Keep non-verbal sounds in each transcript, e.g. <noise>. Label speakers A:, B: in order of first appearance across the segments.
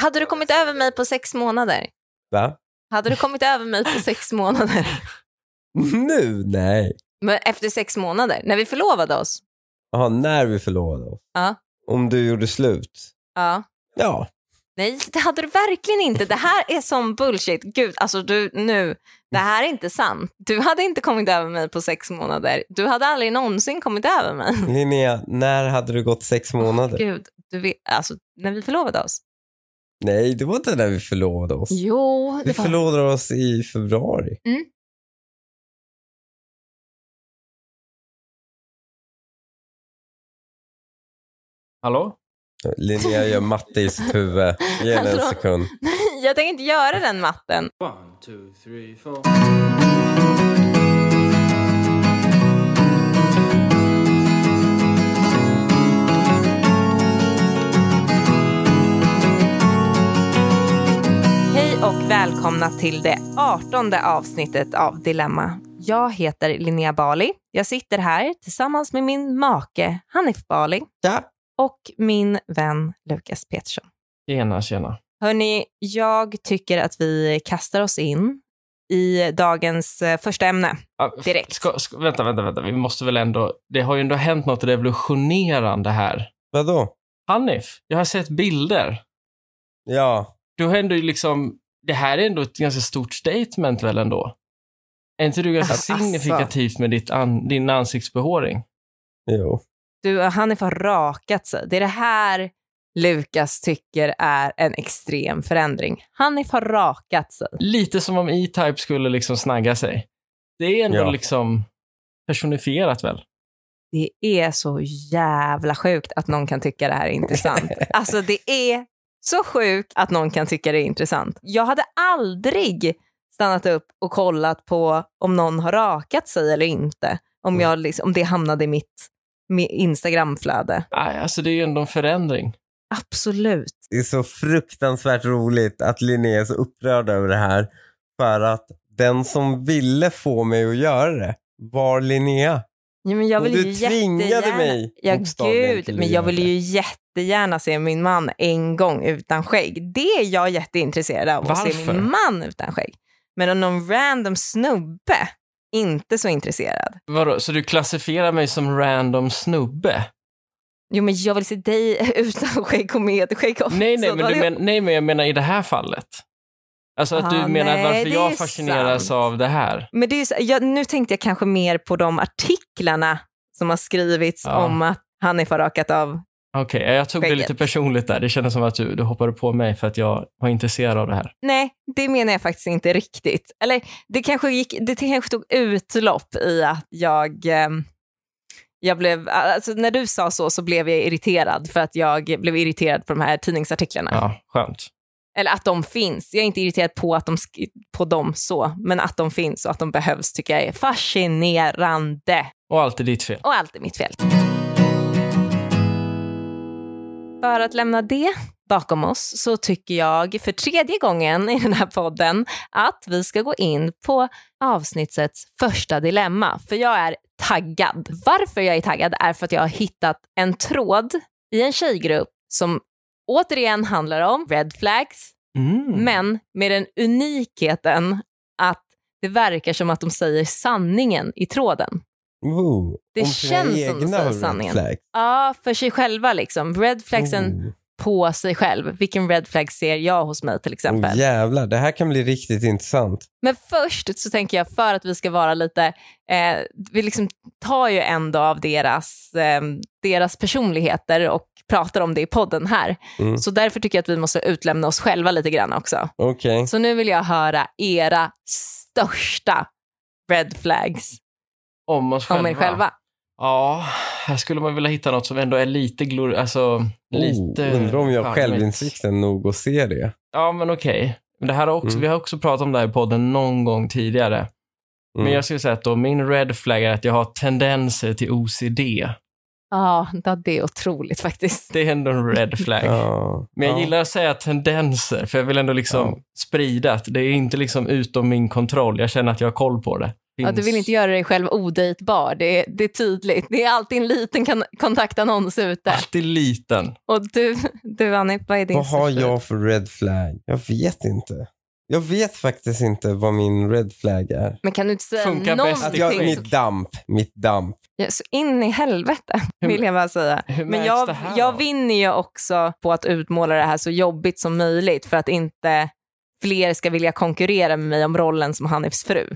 A: Hade du kommit över mig på sex månader?
B: Va?
A: Hade du kommit över mig på sex månader? <laughs>
B: Nu? Nej.
A: Men efter sex månader, när vi förlovade oss.
B: Jaha, när vi förlovade oss.
A: Ja.
B: Om du gjorde slut.
A: Ja.
B: Ja.
A: Nej, det hade du verkligen inte. Det här är som bullshit. Gud, alltså du, nu. Det här är inte sant. Du hade inte kommit över mig på sex månader. Du hade aldrig någonsin kommit över <laughs> mig.
B: Linnea, när hade du gått sex månader?
A: Gud, du vet, alltså när vi förlovade oss.
B: Nej, det var inte när vi förlovade oss.
A: Jo,
B: Vi förlovade oss i februari.
A: Mm.
C: Hallå?
B: Linnea gör matte i sitt huvud. Ge henne en
A: Hallå?
B: sekund.
A: <laughs> Jag tänker inte göra den matten.
C: One, two, three, four.
A: Hej och välkomna till det artonde avsnittet av Dilemma. Jag heter Linnea Bali. Jag sitter här tillsammans med min make Hanif Bali
B: Ja.
A: och min vän Lukas Petersson.
C: Tjena, tjena.
A: Hörni, jag tycker att vi kastar oss in i dagens eh, första ämne.
C: Ah, f-
A: Direkt.
C: Ska, ska, vänta, vänta, vänta. Vi måste väl ändå... Det har ju ändå hänt något revolutionerande här.
B: Vadå?
C: Hanif, jag har sett bilder.
B: Ja.
C: Du har ändå liksom... Det här är ändå ett ganska stort statement väl ändå? Är inte du ganska
B: Alltså.
C: signifikativt med ditt an, din ansiktsbehåring?
B: Jo.
A: Du, Hanif har rakat sig. Det är det här Lukas tycker är en extrem förändring. Hanif har rakat sig.
C: Lite som om E-Type skulle liksom snagga sig. Det är ändå
B: Ja.
C: liksom personifierat väl?
A: Det är så jävla sjukt att någon kan tycka det här är
B: <laughs>
A: intressant. Alltså det är så sjukt att någon kan tycka det är intressant. Jag hade aldrig stannat upp och kollat på om någon har rakat sig eller inte.
B: Mm.
A: Om, jag, liksom- om det hamnade i mitt, mitt Instagramflöde.
C: Nej, alltså det är ju ändå en förändring.
A: Absolut.
B: Det är så fruktansvärt roligt att Linnea är så upprörd över det här. För att den som ville få mig att göra det var Linnea.
A: Ja, men jag
B: Och
A: vill
B: du
A: ju
B: tvingade
A: jättegärna...
B: mig
A: Ja,
B: bokstavligen till
A: gud.
B: att
A: Men jag
B: göra
A: vill
B: det.
A: ju jättegärna se min man en gång utan skägg. Det är jag jätteintresserad av, att se
C: Varför?
A: min man utan skägg. Men om någon random snubbe, inte så intresserad.
C: Vadå, så du klassifierar mig som random snubbe?
A: Jo, men jag vill se dig <laughs> utan skägg och med skägg också.
C: <laughs> Nej, nej,
A: Då
C: men
A: hade
C: du
A: jag-
C: men, nej, men jag menar i det här fallet. Alltså att
A: Ah,
C: du menar
A: nej,
C: varför
A: det är
C: jag fascineras
A: sant.
C: av det här.
A: Men det är ju så, jag, nu tänkte jag kanske mer på de artiklarna som har skrivits
C: Ja.
A: om att han är förrakat av...
C: Okej, jag tog det
A: Skägget.
C: lite personligt där. Det kändes som att du, du hoppade på mig för att jag var intresserad av det här.
A: Nej, det menar jag faktiskt inte riktigt. Eller det kanske, gick, det kanske tog utlopp i att jag... ehm, jag blev, alltså när du sa så så blev jag irriterad för att jag blev irriterad på de här tidningsartiklarna.
C: Ja, skönt.
A: Eller att de finns. Jag är inte irriterad på, att de sk- på dem så, men att de finns och att de behövs tycker jag är fascinerande.
C: Och allt är ditt fel.
A: Och allt är mitt fel. För att lämna det bakom oss så tycker jag för tredje gången i den här podden att vi ska gå in på avsnittets första dilemma. För jag är taggad. Varför jag är taggad är för att jag har hittat en tråd i en tjejgrupp som återigen handlar om red flags,
C: Mm.
A: men med den unikheten att det verkar som att de säger sanningen i tråden.
B: Woo.
A: Det
B: Om sina
A: känns som de
B: egna
A: säger
B: red
A: sanningen.
B: flags.
A: Ja, för sig själva liksom. Red flagsen
B: Oh.
A: på sig själv. Vilken red flag ser jag hos mig till exempel?
B: Oh, jävlar, det här kan bli riktigt intressant.
A: Men först så tänker jag för att vi ska vara lite, eh, vi liksom tar ju ändå av deras, eh, deras personligheter och pratar om det i podden här.
B: Mm.
A: Så därför tycker jag att vi måste utlämna oss själva lite grann också.
B: Okej.
A: Så nu vill jag höra era största red flags
C: om oss
A: om
C: själva.
A: er själva.
C: Ja, här skulle man vilja hitta något som ändå är lite glor... Alltså, lite...
B: Oh, undrar om jag har
C: charmigt.
B: självinsikten nog att se det.
C: Ja, men okej. Men Det här har också,
B: Mm.
C: Vi har också pratat om det här i podden någon gång tidigare.
B: Mm.
C: Men jag skulle säga att då, min red flag är att jag har tendenser till OCD.
A: Ja, det är otroligt faktiskt.
C: Det är ändå en red flag.
B: Ja.
C: Men jag
B: Ja.
C: gillar att säga tendenser, för jag vill ändå liksom
B: Ja.
C: sprida att det är inte liksom utom min kontroll. Jag känner att jag har koll på det.
A: Ja, du vill
C: finns.
A: inte göra dig själv odejtbar, det är, det är tydligt. Det är alltid en liten kan- kontaktannons ute.
C: Alltid liten.
A: Och du, du Anip, vad är din
B: Vad har
A: strategi?
B: jag för red flag? Jag vet inte. Jag vet faktiskt inte vad min red flag är.
A: Men kan du inte säga
C: Funkar bäst
B: Att
A: någonting?
B: jag,
C: Det är
B: mitt damp, mitt damp.
A: Ja, så in i helvete,
C: Hur-
A: vill jag bara säga.
C: Hur
A: Men
C: märks
A: jag,
C: det här
A: jag
C: då?
A: vinner ju också på att utmåla det här så jobbigt som möjligt för att inte fler ska vilja konkurrera med mig om rollen som Hanifs fru.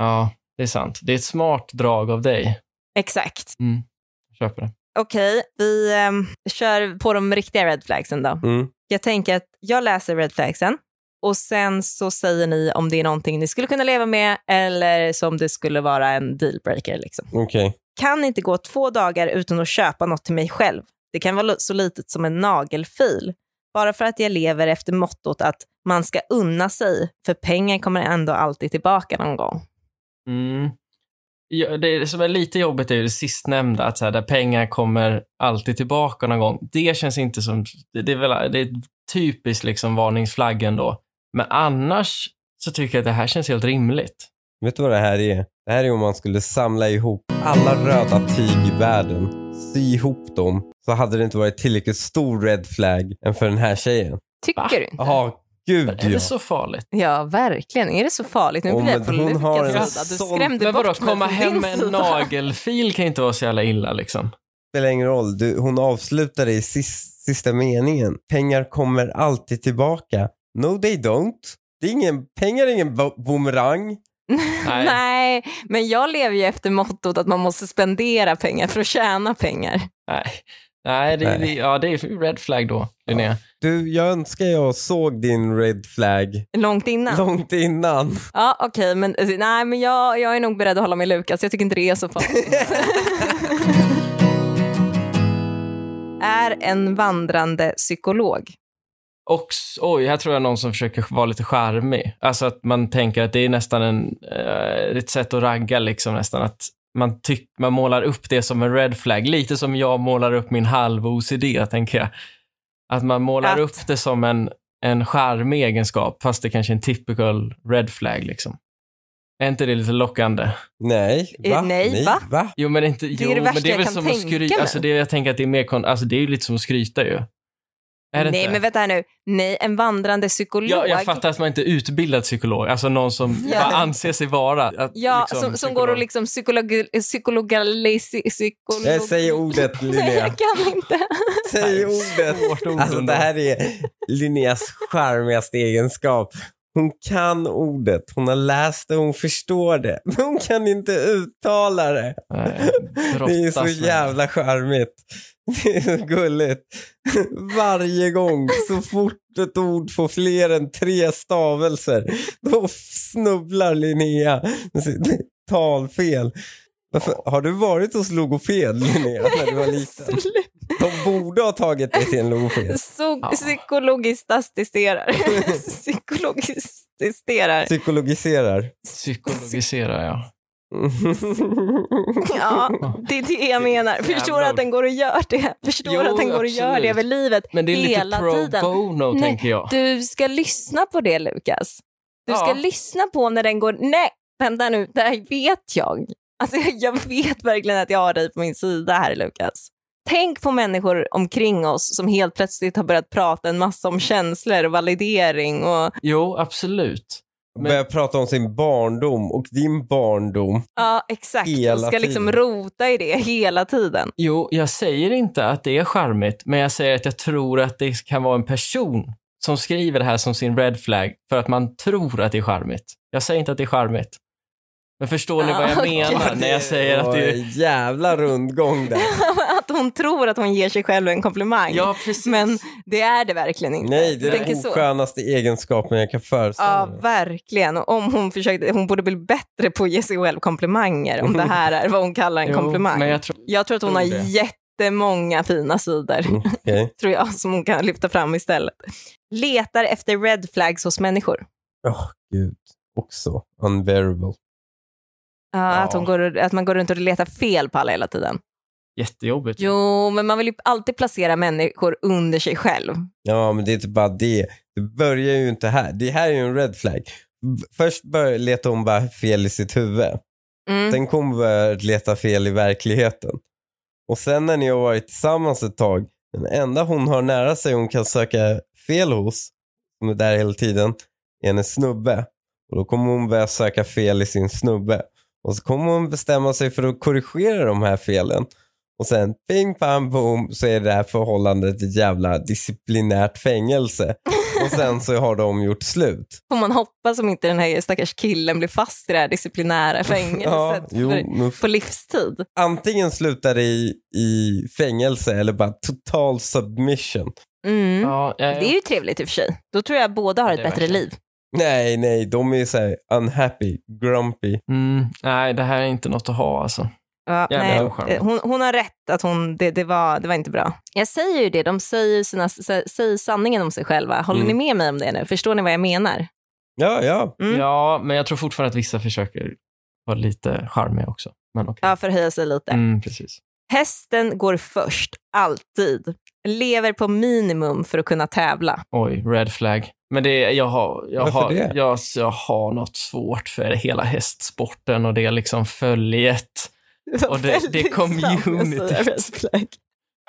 C: Ja, det är sant. Det är ett smart drag av dig.
A: Exakt.
C: Mm. Jag köper det.
A: Okej, vi ehm, kör på de riktiga red flagsen då.
B: Mm.
A: Jag tänker att jag läser red flagsen och sen så säger ni om det är någonting ni skulle kunna leva med eller som det skulle vara en dealbreaker. Liksom.
B: Okej.
A: Kan inte gå två dagar utan att köpa något till mig själv. Det kan vara så litet som en nagelfil. Bara för att jag lever efter mottot att man ska unna sig, för pengar kommer ändå alltid tillbaka någon gång.
C: Mm. Ja, det som är lite jobbigt är ju det sistnämnda, att så här, där pengar kommer alltid tillbaka någon gång. Det känns inte som... Det, det är väl det är typiskt liksom varningsflaggen då. Men annars så tycker jag att det här känns helt rimligt.
B: Vet du vad det här är? Det här är om man skulle samla ihop alla röda tyg i världen, sy ihop dem, så hade det inte varit tillräckligt stor red flag än för den här tjejen.
A: Tycker
C: Va?
A: du inte?
B: Ja, gud
C: Är
B: ja.
C: det så farligt?
A: Ja, verkligen. Är det så farligt? Nu
B: Åh,
A: blir jag
B: men
A: på
B: hon har en
A: Lukas sida. Du
B: sån-
A: skrämde
C: Men vadå,
A: bort mig
C: komma
A: från
C: hem
A: din
C: med en
A: sida.
C: nagelfil kan inte vara så jävla illa liksom.
B: spelar ingen roll. Du, hon avslutar det i sis, sista meningen. Pengar kommer alltid tillbaka. No they don't. Det är ingen, pengar är ingen bo- boomerang.
A: <laughs>
C: Nej.
A: Nej. men jag lever ju efter mottot att man måste spendera pengar för att tjäna pengar.
C: Nej, Nej, det,
B: Nej.
C: Det, ja, det är ju red flag då, Linnea.
B: Du, jag önskar jag såg din red flag
A: Långt innan.
B: långt innan.
A: Ja, okej, men, eh, nej, men jag, jag är nog beredd att hålla med Lukas. Jag tycker inte det är så farligt.
C: <laughs>
A: <laughs> är en vandrande psykolog.
C: Och s- oj, här tror jag någon som försöker vara lite charmig. Alltså att man tänker att det är nästan en, eh, ett sätt att ragga liksom nästan. Att man, tyck, man målar upp det som en red flag. Lite som jag målar upp min halv-OCD, tänker jag. Att man målar
A: Att-
C: upp det som en, en charmig egenskap, fast det kanske är en typical red flag liksom. Är inte det lite lockande?
B: Nej,
A: Eh,
B: va?
A: nej, va?
C: Jo, men inte,
A: är
C: jo,
A: det
C: men
A: värsta
C: det är
A: jag
C: väl
A: kan
C: som att
A: tänka
C: skryta.
A: mig.
C: Alltså det, jag tänker att det är mer kon- alltså det är ju lite som att skryta ju. Är det
A: nej,
C: inte?
A: men vänta här nu. Nej, en vandrande psykolog.
C: Ja, jag fattar att man inte är utbildad psykolog, alltså någon som
A: Ja.
C: bara anser sig vara. Att,
A: Ja,
C: liksom,
A: som, som
C: psykolog.
A: går och liksom psykolog... psykologalisi... Psykolog...
B: Jag säger Eh, ordet
A: <laughs> Nej,
B: Linnea.
A: jag kan inte.
B: Säg ordet.
C: Svårt ord
B: Alltså
C: ändå.
B: det här är Linneas charmigaste egenskap. Hon kan ordet, hon har läst det, hon förstår det. Men hon kan inte uttala det.
C: Nej,
B: Det är
C: brottas
B: så
C: med.
B: jävla charmigt. Det är så gulligt. Varje gång, så fort ett ord får fler än tre stavelser, då snubblar Linnea med sitt talfel. Varför, har du varit hos logoped, Linnea, när du var
C: <laughs>
B: liten?
A: <laughs>
B: De borde ha tagit dig till en logoped.
A: Så,
C: Ja.
A: Psykologiskt
C: <laughs>
A: assisterar. Psykologiskt assisterar. <laughs>
B: Psykologiserar.
C: Psykologiserar jag.
A: Ja, det är det jag menar.
C: Jävlar.
A: Förstår att den går och gör det. Förstår
C: Jo,
A: att den går och gör det
C: absolut.
A: över livet
C: Men det är lite
A: hela
C: pro
A: tiden.
C: bono,
A: Nej,
C: tänker jag.
A: Du ska lyssna på det, Lukas. Du
C: Ja.
A: ska lyssna på när den går... Nej, vänta nu, det här vet jag. Alltså, jag- jag vet verkligen att jag har dig på min sida här, Lukas. Tänk på människor omkring oss som helt plötsligt har börjat prata en massa om känslor och validering och
C: Jo, absolut.
B: Börjar prata om sin barndom och din barndom.
A: ja, exakt.
B: Hela
A: och ska liksom
B: tiden.
A: rota i det hela tiden. <laughs>
C: Jo, jag säger inte att det är charmigt, men jag säger att jag tror att det kan vara en person som skriver det här som sin red flag för att man tror att det är charmigt. Jag säger inte att det är charmigt. Men förstår ni
A: Ja,
C: vad jag
A: Ah, okej.
C: menar när jag säger att det är...
B: Oj, jävla rundgång där.
A: att hon tror att hon ger sig själv en komplimang.
C: Ja, precis.
A: Men det är det verkligen inte.
B: Nej,
A: <laughs>
B: det
A: Jag
B: är den
A: tänker så.
B: oskönaste egenskapen jag kan föreställa
A: Ja,
B: mig.
A: verkligen. Och om hon, försökte, hon borde bli bättre på att ge sig själv komplimanger, om det här är vad hon kallar en
C: Mm. Jo,
A: komplimang.
C: Men
A: jag,
C: jag tror...
A: tror att hon har
C: tror det.
A: jättemånga fina sidor,
B: Okej.
A: tror jag, som hon kan lyfta fram istället. Letar efter red flags hos människor.
B: Åh, gud. Också unbearable.
A: Ja, Att, hon går, att man går runt och letar fel på alla hela tiden.
C: Jättejobbigt.
A: Jo, men man vill ju alltid placera människor under sig själv.
B: Ja, men det är inte bara det. Det börjar ju inte här. Det här är ju en red flag. B- Först börjar letar hon bara fel i sitt huvud.
A: Mm.
B: Sen kommer vi börja leta fel i verkligheten. Och sen när ni har varit tillsammans ett tag, den enda hon har nära sig hon kan söka fel hos, som är där hela tiden, är hennes snubbe. Och då kommer hon börja söka fel i sin snubbe. Och så kommer hon bestämma sig för att korrigera de här felen. Och sen ping pam boom så är det här förhållandet ett jävla disciplinärt fängelse.
A: <laughs>
B: Och sen så har de gjort slut.
A: Får man hoppas om inte den här stackars killen blir fast i det här disciplinära
B: Ja,
A: fängelset
B: jo,
A: för,
B: nu
A: på livstid.
B: antingen slutar det i, i fängelse eller bara total submission.
A: Mm.
C: Ja, eh, ja, ja.
A: Det är ju trevligt i och för sig. Då tror jag båda har
C: Ja,
A: ett
C: det är
A: bättre
C: verkligen.
A: liv.
B: Nej, nej, de är så här unhappy, grumpy.
C: Mm, nej, det här är inte något att ha alltså.
A: Ja,
C: Jävla
A: nej,
C: oskärmigt.
A: eh, hon, hon har rätt att hon, det, det, var, det var inte bra. Jag säger ju det, de säger, ju sina, sä- säger sanningen om sig själva. Håller
B: Mm.
A: ni med mig om det nu? Förstår ni vad jag menar?
B: Ja, ja.
A: Mm.
C: Ja, men jag tror fortfarande att vissa försöker vara lite charmiga också. Men okej.
A: Ja, förhöja sig lite.
C: Mm, precis.
A: Hästen går först, alltid. Lever på minimum för att kunna tävla.
C: Oj, red flag. Men det, jag, har, jag,
B: Varför
C: har,
B: det?
C: jag, jag har något svårt för hela hästsporten och det är liksom följet. <laughs> Och det- det
A: Väldigt
C: kom
A: sant att säga
C: Unity.
A: red flag.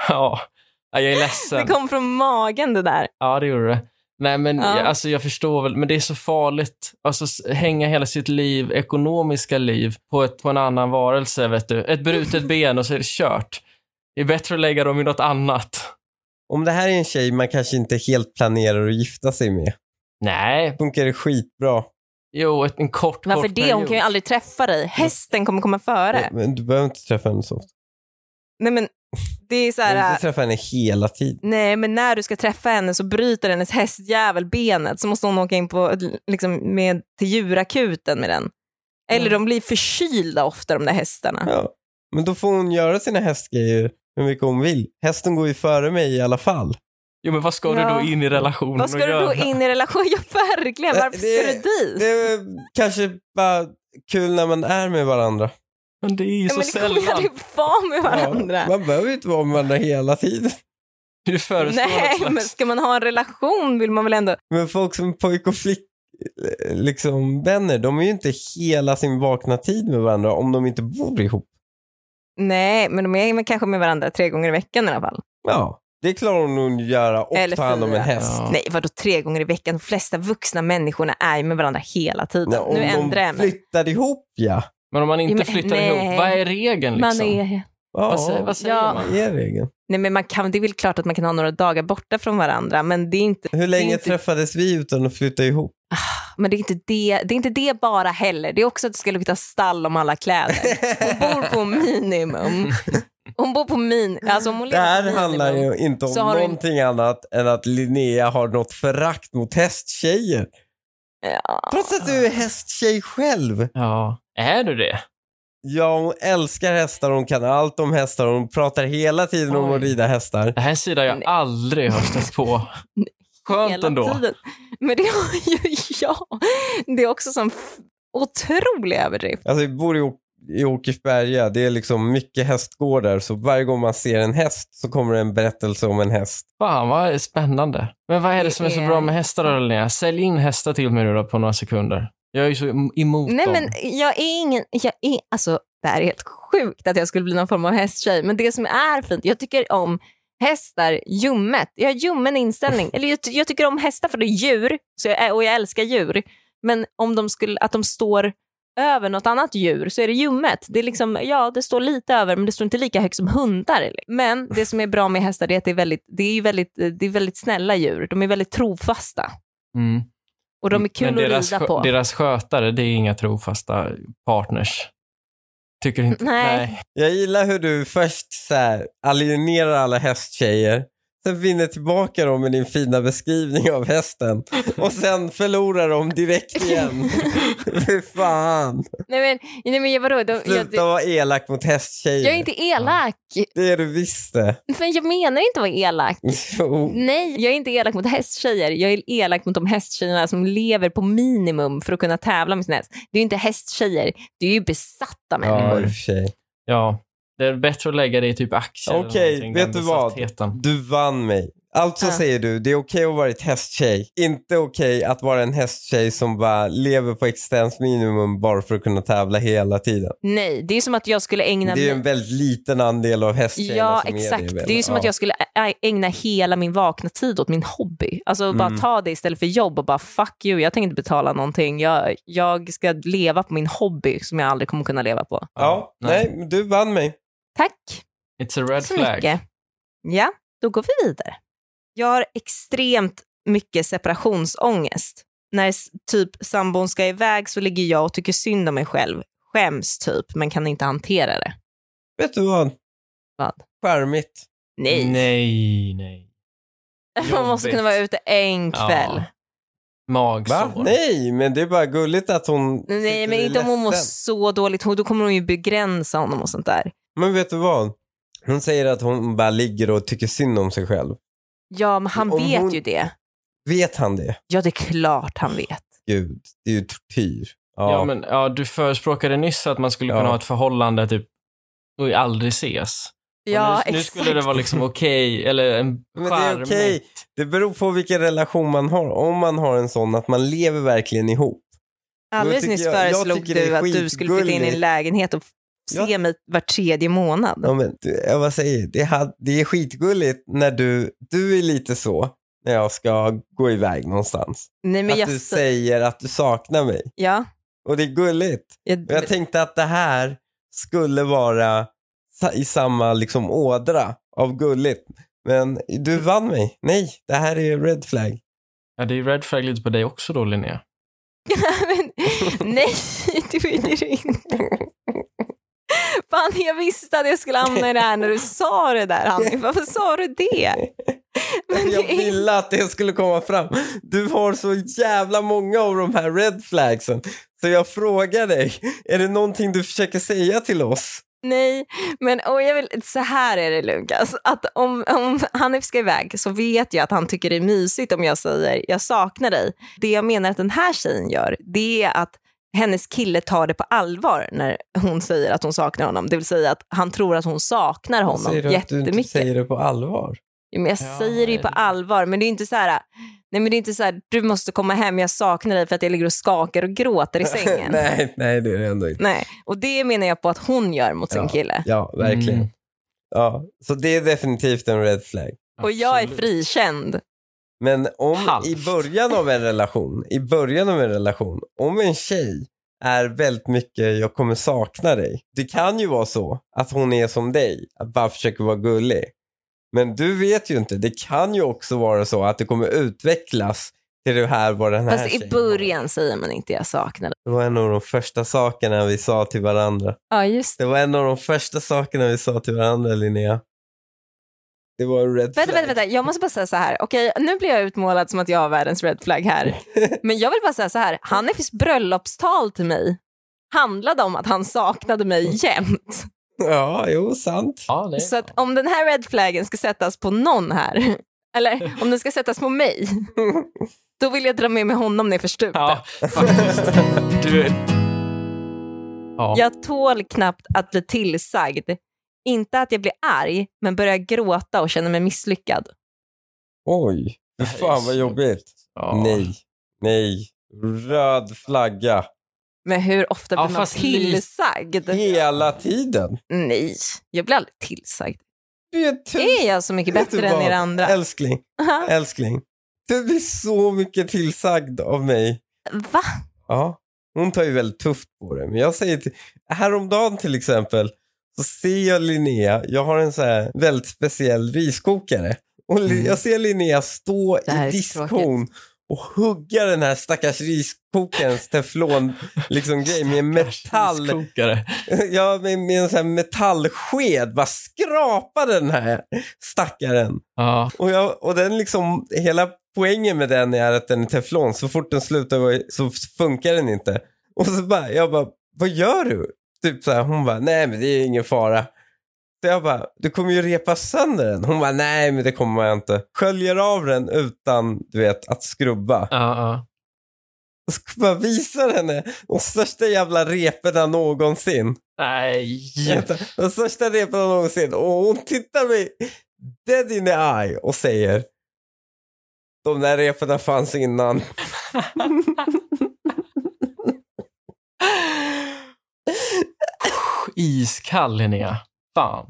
C: Ja, Ja, jag är ledsen.
A: Det kom från magen det där.
C: Ja, det gjorde det. Nej, men
A: Ja.
C: jag, alltså, jag förstår väl, men det är så farligt. Alltså s- hänga hela sitt liv, ekonomiska liv, på, ett, på en annan varelse, vet du. Ett brutet ben och så är det kört. Det är bättre att lägga dem i något annat.
B: Om det här är en tjej man kanske inte helt planerar att gifta sig med,
C: Nej,
B: funkar det skitbra.
C: jo, ett, en kort,
A: Varför
C: kort
A: det? Hon kan ju aldrig träffa dig. Hästen kommer komma före.
B: Men du behöver inte träffa henne så ofta.
A: Nej, men det är så
B: Du behöver
A: här... äh,
B: inte träffa henne hela tiden.
A: Nej, men när du ska träffa henne så bryter hennes hästjävel benet så måste hon åka in på, liksom, med, till djurakuten med den. Eller
C: Mm.
A: de blir förkylda ofta de där hästarna.
B: Ja. Men då får hon göra sina hästgrejer hur mycket hon vill. Hästen går ju före mig i alla fall.
C: Jo, men vad ska du
A: Ja.
C: då in i relationen
A: Vad ska du då in i relation? <laughs> Ja, verkligen.
B: Äh,
A: Varför
B: det-
A: ska du dit?
B: Det är kanske bara kul när man är med varandra.
C: Men det är ju
A: Ja,
C: så
A: men det kommer ju
C: sällan.
A: aldrig vara med <laughs> varandra.
B: Ja, man behöver ju inte vara med varandra hela tiden.
C: Du föreslår
A: Nej,
C: något slags-
A: men ska man ha en relation vill man väl ändå...
B: Men folk som pojk och flick liksom vänner, de är ju inte hela sin vakna tid med varandra om de inte bor ihop.
A: Nej, men de är men kanske med varandra tre gånger i veckan i alla fall.
B: Ja, det klarar hon nog att göra och
A: Eller
B: ta hand om en
A: fyra.
B: häst.
C: Ja.
A: Nej, vadå tre gånger i veckan? De flesta vuxna människorna är ju med varandra hela tiden.
B: Ja, om
A: nu ändrar jag
B: de
A: mig.
B: flyttar ihop, ja.
C: Men om man inte
A: men-
C: flyttar
A: nej.
C: ihop, vad är regeln liksom?
A: Man är...
B: ja.
C: Vad säger, vad säger
A: Ja.
C: man?
B: Det är regeln.
A: Nej, men man kan, det är väl klart att man kan ha några dagar borta från varandra, men det är inte,
B: Hur länge
A: inte-
B: träffades vi utan att flytta
A: <laughs>
B: ihop?
A: men det, är inte det, det är inte det bara heller. Det är också att det ska lukta stall om alla kläder. Hon bor
B: <laughs>
A: på minimum. Hon bor på min... Alltså om hon
B: Det
A: lever på
B: här
A: minimum.
B: handlar ju inte om
A: Så har du in-
B: någonting annat än att Linnea har något förakt mot hästtjejer.
A: Ja.
B: Trots att du är hästtjej själv.
C: Ja, är du det?
B: Ja, hon älskar hästar, hon kan allt om hästar, hon pratar hela tiden om
C: Oj.
B: att rida hästar.
C: Det här är en sida jag
A: Nej.
C: aldrig har stött på. Skönt
A: hela
C: ändå.
A: tiden. Men det har ju <laughs> jag. Det är också som f- otrolig överdrift.
B: Alltså vi bor i, O- i Åkersberga, det är liksom mycket hästgårdar, så varje gång man ser en häst så kommer det en berättelse om en häst.
C: Fan vad spännande. Men vad är det som är så
A: Det
C: bra
A: är-
C: med hästar då Linnea? Sälj in hästar till mig nu då på några sekunder. Jag är ju så em- emot
A: Nej,
C: dem.
A: men jag är ingen... Jag är, alltså, det här är helt sjukt att jag skulle bli någon form av hästtjej, men det som är fint, jag tycker om hästar ljummet. Jag har ljummen inställning. Eller jag, ty- jag tycker om hästar för det är djur, så jag, är- och jag älskar djur. Men om de skulle, att de står över något annat djur så är det ljummet. Det, är liksom, ja, det står lite över, men det står inte lika högt som hundar. Men det som är bra med hästar är att det är väldigt, det är ju väldigt, det är väldigt snälla djur. De är väldigt trofasta
C: Mm.
A: och de är kul
C: men
A: att
C: deras,
A: rida
C: skö-
A: på.
C: deras skötare, det är inga trofasta partners. Tycker inte...
A: Nej.
B: Jag gillar hur du först så här, alienerar alla hästtjejer, sen vinner tillbaka dem med din fina beskrivning av hästen och sen förlorar dem direkt
A: <laughs>
B: igen. Fy fan.
A: Nej men, nej, men vadå? De, jag,
B: Sluta vara elak mot hästtjejer.
A: Jag är inte elak.
B: Det är du visst det. <laughs> Oh.
A: Men jag menar inte att vara elak.
B: Jo.
A: Nej, jag är inte elak mot hästtjejer. Jag är elak mot de hästtjejerna som lever på minimum för att kunna tävla med sin häst. Det är ju inte hästtjejer, det är ju besatta människor.
B: Ja, i och för sig.
C: Ja, det är bättre att lägga det i typ aktier. eller
B: Okej,
C: någonting,
B: vet
C: den
B: du vad?
C: besattheten.
B: Du vann mig. Alltså
A: Ja.
B: säger du, det är okej att vara ett hästtjej. Inte okej att vara en hästtjej som bara lever på existensminimum bara för att kunna tävla hela tiden.
A: Nej, det är som att jag skulle ägna...
B: det är ju
A: mig-
B: en väldigt liten andel av hästtjejerna
A: Ja,
B: som är
A: exakt.
B: det. väl?
A: Det är ju som
B: Ja.
A: att jag skulle ä- ägna hela min vakna tid åt min hobby. Alltså bara
B: Mm.
A: ta det istället för jobb och bara fuck you, jag tänker inte betala någonting. Jag, jag ska leva på min hobby som jag aldrig kommer kunna leva på.
B: Ja, nej, men du vann mig.
A: Tack
C: It's a red
A: så
C: flag.
A: mycket. Ja, då går vi vidare. Jag har extremt mycket separationsångest. När s- typ sambon ska iväg så ligger jag och tycker synd om mig själv. Skäms typ, men kan inte hantera det.
B: Vet du vad?
A: Vad?
B: Charmigt.
A: Nej, <laughs>
C: Nej, nej.
A: man måste
C: jobbigt.
A: kunna vara ute en
C: Ja.
A: kväll.
B: Va?
C: Magsår.
B: Nej, men det är bara gulligt att hon
A: Nej,
B: sitter
A: men
B: och är
A: inte om hon mår
B: ledsen.
A: så dåligt. Hon- Då kommer hon ju begränsa honom och sånt där.
B: Men vet du vad? Hon säger att hon bara ligger och tycker synd om sig själv.
A: Ja, men han
B: Om
A: vet
B: hon-
A: ju det.
B: Vet han det?
A: Ja, det är klart han vet.
B: Gud, det är ju tortyr. Ja,
C: Ja, men, ja, du förespråkade nyss att man skulle
B: Ja.
C: kunna ha ett förhållande typ och aldrig ses. Och
A: Ja,
C: nu, nu
A: exakt.
C: skulle det vara liksom okej, eller en
B: Men det är
C: charmig-
B: okej. Det beror på vilken relation man har. Om man har en sån att man lever verkligen ihop.
A: Alldeles
B: tycker
A: nyss
B: jag- jag
A: föreslog
B: tycker det är
A: du att du skulle flytta in i
B: skitgulligt.
A: en lägenhet och f- se mig var tredje månad.
B: Ja, men, du, jag bara säger, det, had, det är skitgulligt när du, du är lite så när jag ska gå iväg någonstans.
A: Nej, men
B: att
A: jag...
B: du säger att du saknar mig.
A: Ja,
B: Och det är gulligt.
A: jag, <laughs>
B: Och jag tänkte att det här skulle vara sa- i samma liksom ådra av gulligt. Men du vann mig. Nej, det här är red flag.
C: Ja, det är red flag lite på dig också då, Linnea.
A: men, nej, det är det inte. Fan, jag visste att jag skulle hamna i det här när du sa det där, Hanif. Varför sa du
B: <laughs>
A: det? Men
B: Alltså, Jag
A: det är
B: ville att det skulle komma fram. Du har så jävla många av de här red flagsen. Så jag frågar dig, är det någonting du försöker säga till oss?
A: Nej, men och jag vill, så här är det Lukas, att om, om Hanif ska iväg så vet jag att han tycker det är mysigt om jag säger jag saknar dig. Det jag menar att den här tjejen gör, det är att hennes kille tar det på allvar när hon säger att hon saknar honom. Det vill säga att han tror att hon saknar honom
B: Säger du att du inte
A: jättemycket.
B: säger det på allvar?
A: Jo, men jag
C: Ja,
A: säger det ju på
C: nej.
A: allvar, men det är inte så här, nej men det är inte så här, du måste komma hem, jag saknar dig för att jag ligger och skakar och
B: <laughs>
A: gråter i sängen. nej.
B: nej, nej, det är det ändå inte.
A: och det menar jag på att hon gör mot sin
B: Ja.
A: kille.
B: Ja, verkligen.
C: Mm,
B: Ja, så det är definitivt en red flag.
A: Och jag är
C: absolut.
A: frikänd.
B: Men om
C: Halvt.
B: i början av en relation, i början av en relation, om en tjej är väldigt mycket jag kommer sakna dig. Det kan ju vara så att hon är som dig, att bara försöker vara gullig. Men du vet ju inte, det kan ju också vara så att det kommer utvecklas till det här vad den här
A: Fast i
B: tjejen
A: början säger man inte jag saknar dig.
B: var. Det var en av de första sakerna vi sa till varandra.
A: Ja, just
B: Det var en av de första sakerna vi sa till varandra Linnea. Det var en red
A: Vänta,
B: flag.
A: vänta, vänta, jag måste bara säga så här. Okej, nu blir jag utmålad som att jag har världens red flag här. Men jag vill bara säga så här. Hanifs bröllopstal till mig handlade om att han saknade mig jämt.
B: Ja, jo, sant.
C: Ja, det är...
A: Så att om den här red flaggen ska sättas på någon här, <laughs> eller om den ska sättas på mig, då vill jag dra med mig honom ner för stupet.
C: Ja, faktiskt. Du är... Ja.
A: Jag tål knappt att bli tillsagd. Inte att jag blir arg, men börjar gråta och känner mig misslyckad.
B: Oj, fy
C: här är
B: fan vad
C: så-
B: jobbigt.
C: ja.
B: Nej, nej. Röd flagga.
A: Men hur ofta
C: Ja,
A: blir man
C: fast lite-
A: tillsagd?
B: Hela tiden.
A: Nej, jag blir aldrig tillsagd.
B: Du är tu-
A: Är jag så mycket
B: vet du
A: bättre än
B: vad?
A: er andra?
B: Älskling, älskling. Du blir så mycket tillsagd av mig.
A: Va?
B: Ja, hon tar ju väldigt tufft på det. Men jag säger till, häromdagen till exempel så ser jag Linnea, jag har en så här väldigt speciell riskokare. Och Li-
C: Mm.
B: jag ser Linnea stå
A: Det här
B: i
A: är så
B: diskon och hugga den här stackars riskokarens
A: <laughs>
B: teflon liksom grej med en metall
C: Kokare.
B: Ja, med, med en sån här metallsked. Bara skrapa den här stackaren.
C: Ja.
B: Och, jag, och den liksom, hela poängen med den är att den är teflon. Så fort den slutar vara- så funkar den inte. Och så bara, jag bara, vad gör du? Typ så här, hon bara, nej men det är ingen fara. Så jag bara, du kommer ju repa sönder den. Hon bara, nej men det kommer jag inte. Sköljer av den utan, du vet, att skrubba.
C: Ja, ja.
B: Och så bara visar henne de största jävla reporna någonsin.
C: Nej.
B: Vänta, Den största repan någonsin. Och hon tittar mig dead in the eye och säger De där reporna fanns innan.
C: Iskall Linnea. Fan.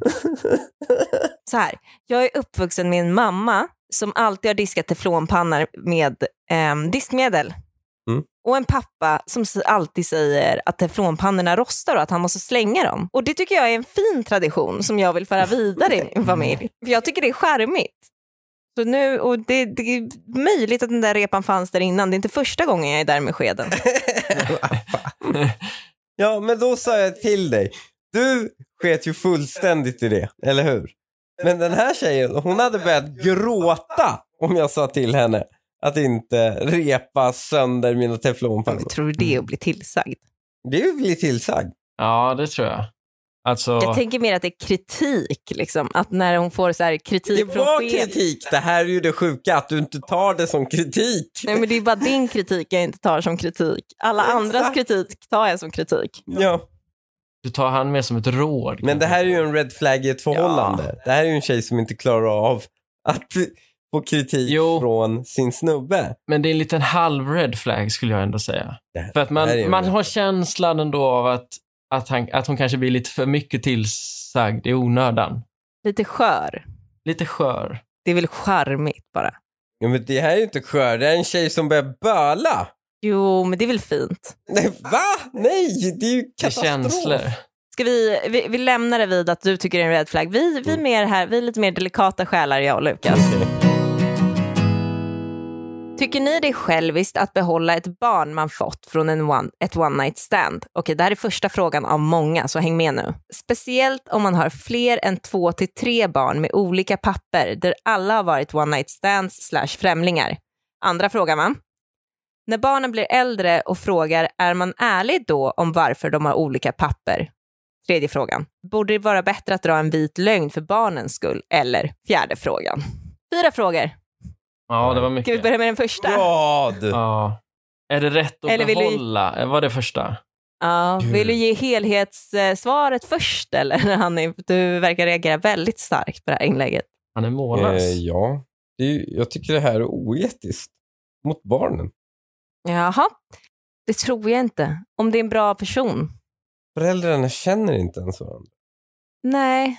A: Så här, jag är uppvuxen med en mamma som alltid har diskat teflonpannor med ehm, diskmedel.
B: Mm.
A: Och en pappa som s- alltid säger att teflonpannorna rostar och att han måste slänga dem. Och det tycker jag är en fin tradition som jag vill föra vidare i
C: Mm.
A: min familj. För jag tycker det är charmigt. Så nu, och det, det är möjligt att den där repan fanns där innan. Det är inte första gången jag är där med skeden.
B: Ja, men då sa jag till dig. Du sket ju fullständigt i det, eller hur? Men den här tjejen, hon hade börjat gråta om jag sa till henne att inte repa sönder mina teflonpannor.
A: Jag tror det är att bli tillsagd.
B: Det är ju bli tillsagd.
C: Ja, det tror jag. Alltså,
A: Jag tänker mer att det är kritik, liksom. att när hon får så här kritik
B: Det
A: från
B: var
A: chefen-
B: kritik. Det här är ju det sjuka, att du inte tar det som kritik.
A: Nej, men det är bara din kritik jag inte tar som kritik. Alla
B: Exakt.
A: andras kritik tar jag som kritik.
B: Ja.
C: du tar han med som ett råd.
B: Men det här är ju en red flag i ett förhållande. Det här är ju en tjej som inte klarar av att få kritik
C: Jo.
B: från sin snubbe.
C: Men det är en liten halv red flag skulle jag ändå säga.
B: Det-
C: För att
B: det här är
C: man,
B: en
C: man
B: red
C: har känslan ändå av att, att, han, att hon kanske blir lite för mycket tillsagd i onödan.
A: Lite skör.
C: Lite skör.
A: Det är väl charmigt bara.
B: Ja, men det här är ju inte skör. Det här är en tjej som börjar böla.
A: Jo, men det är väl fint.
B: Nej, va? Nej, det är ju
C: Med
B: katastrof.
C: känslor.
A: Ska vi, vi, vi lämnar det vid att du tycker det är en red flag. Vi, vi, är, mer här, vi är lite mer delikata själar, jag och Lukas. Tycker ni det är själviskt att behålla ett barn man fått från en one, ett one night stand? Okej, det här är första frågan av många, så häng med nu. Speciellt om man har fler än två till tre barn med olika papper där alla har varit one night stands slash främlingar. Andra frågan va? När barnen blir äldre och frågar är man ärlig då om varför de har olika papper? Tredje frågan. Borde det vara bättre att dra en vit lögn för barnens skull? Eller fjärde frågan. Fyra frågor.
C: Ja, det var
A: Ska vi
C: mycket.
A: börja med den första?
B: Ja, du.
C: Ja. Är det rätt att
A: Eller vill du-
C: behålla? Var det första?
A: Ja,
B: Gud.
A: vill du ge helhetssvaret först eller <laughs> Hanni? Du verkar reagera väldigt starkt på det här inlägget.
C: Han är mållös.
B: Eh, ja, det är, ju- jag tycker det här är oetiskt mot barnen.
A: Jaha, det tror jag inte. Om det är en bra person?
B: Föräldrarna känner inte ens varandra.
A: Nej.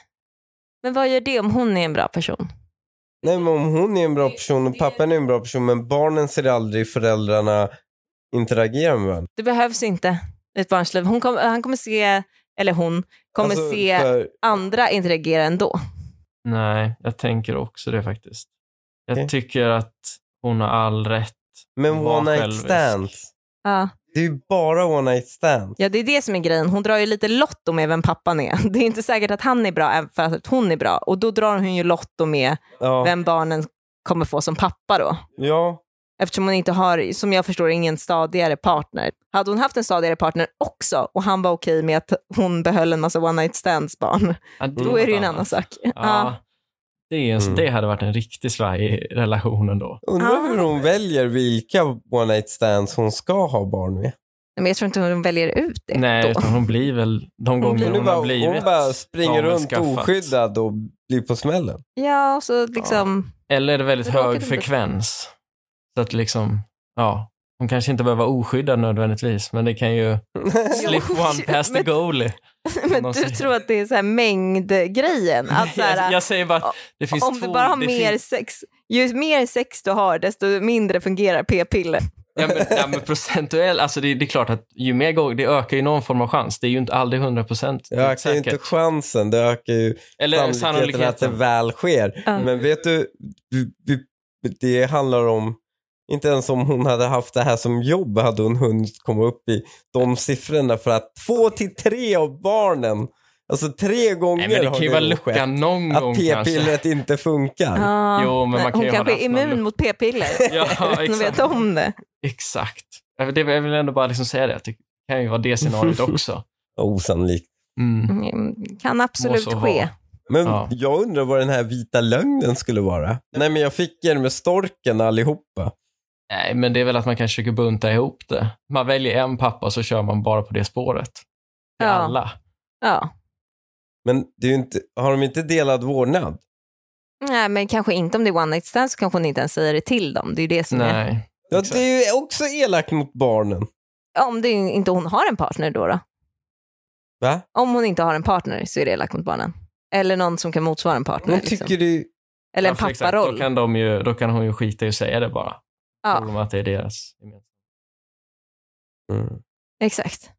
A: Men vad gör det om hon är en bra person?
B: Nej, men om hon är en bra person och pappan är en bra person men barnen ser aldrig föräldrarna interagera med varandra.
A: Det behövs inte i ett barns liv. Hon kom, han kommer se, eller hon, kommer
B: Alltså,
A: se
B: för-
A: andra interagera ändå.
C: Nej, jag tänker också det faktiskt. Jag
B: Okej.
C: tycker att hon har all rätt.
B: men
C: Var
B: one night
C: självisk.
B: stands.
A: Ja.
B: Det är ju bara one night stands.
A: ja, det är det som är grejen. Hon drar ju lite lotto med vem pappan är. <laughs> Det är inte säkert att han är bra även för att hon är bra. Och då drar hon ju lotto med
B: Ja.
A: vem barnen kommer få som pappa då.
B: ja.
A: Eftersom hon inte har, som jag förstår, ingen stadigare partner. Hade hon haft en stadigare partner också och han var okej med att hon behöll en massa one night stands barn, <laughs>
C: Ja, det
A: då är det ju en
C: något
A: annan
C: annat.
A: sak.
C: Mm, Ja.
A: Ja.
C: Det, är en,
B: Mm.
C: det hade varit en riktig svajig relation ändå.
B: Undrar
A: Ah.
B: hur hon väljer vilka one night stands hon ska ha barn med.
A: Men jag tror inte hon väljer ut det
C: Nej,
A: då.
C: utan hon blir väl de gånger
A: blir-
C: hon,
B: Hon, bara,
C: har blivit.
B: hon bara springer runt
C: gavelskaffat.
B: oskyddad och blir på smällen.
A: Ja, så liksom,
C: Eller är det väldigt
A: Det råkade
C: hög
A: inte-
C: frekvens. Så att liksom, ja. Hon kanske inte behöver vara oskyddad nödvändigtvis, men det kan
A: <laughs>
C: ju slip one past the
A: men-
C: goalie.
A: <laughs> men
C: Någon
A: du
C: säger-
A: tror att det är så här mängdgrejen? Att så här,
C: <laughs> jag, jag säger bara att det finns
A: om
C: två...
A: du bara har
C: det
A: mer
C: finns-
A: sex, ju mer sex du har, desto mindre fungerar p-piller.
C: Ja men, ja, men procentuell, alltså det, det är klart att ju mer gånger, det ökar ju någon form av chans. Det är ju inte aldrig 100 procent
B: Det ökar ju inte chansen, det ökar ju
C: Eller
B: sannolikheten att det
C: sannolikheten.
B: väl sker.
A: Ja.
B: Men vet du, vi- vi- det handlar om, inte ens om hon hade haft det här som jobb hade hon hunnit komma upp i de siffrorna för att två till tre av barnen, alltså tre gånger
C: Nej, men det
B: har
C: kan ju vara
B: nog
C: lucka
B: skett
C: någon gång
B: att
C: kanske.
B: p-pillret inte funkar.
A: Ah,
C: Jo, men man
A: nej,
C: kan
A: hon
C: ju ha
A: kanske är
C: haft
A: immun
C: någon-
A: mot p-piller.
C: <laughs> Ja,
A: utan att
C: exakt.
A: veta om det.
C: exakt. Ja, men det- Jag vill ändå bara liksom säga det, att det kan ju vara
B: <laughs>
C: det scenariot också.
B: Osannolikt.
C: Mm.
A: Mm, Kan
C: så
A: absolut
C: vara.
A: ske.
B: Men
C: Ja.
B: jag undrar vad den här vita lögnen skulle vara. Nej men jag fick er med storken allihopa.
C: Nej, men det är väl att man kanske försöker bunta ihop det. Man väljer en pappa och så kör man bara på det spåret. Till
A: Ja.
C: alla.
A: Ja.
B: Men det är ju inte, har de inte delad vårdnad?
A: Nej, men kanske inte om det är one night stand så kanske hon inte ens säger det till dem. Det är ju det som är...
C: Nej.
B: Ja,
C: Exakt.
B: det är ju också elakt mot barnen.
A: Ja, Om det är- inte hon har en partner då, då.
B: Va?
A: Om hon inte har en partner så är det elakt mot barnen. Eller någon som kan motsvara en partner.
B: De
A: liksom.
B: tycker det
A: Eller en
C: Ja, för Alltså, exakt. Då
A: papparoll.
C: kan, de ju, då kan hon ju skita i att säga det bara.
A: Ja.
C: Tror de att det är deras gemensamma.
B: mm.
A: Exakt.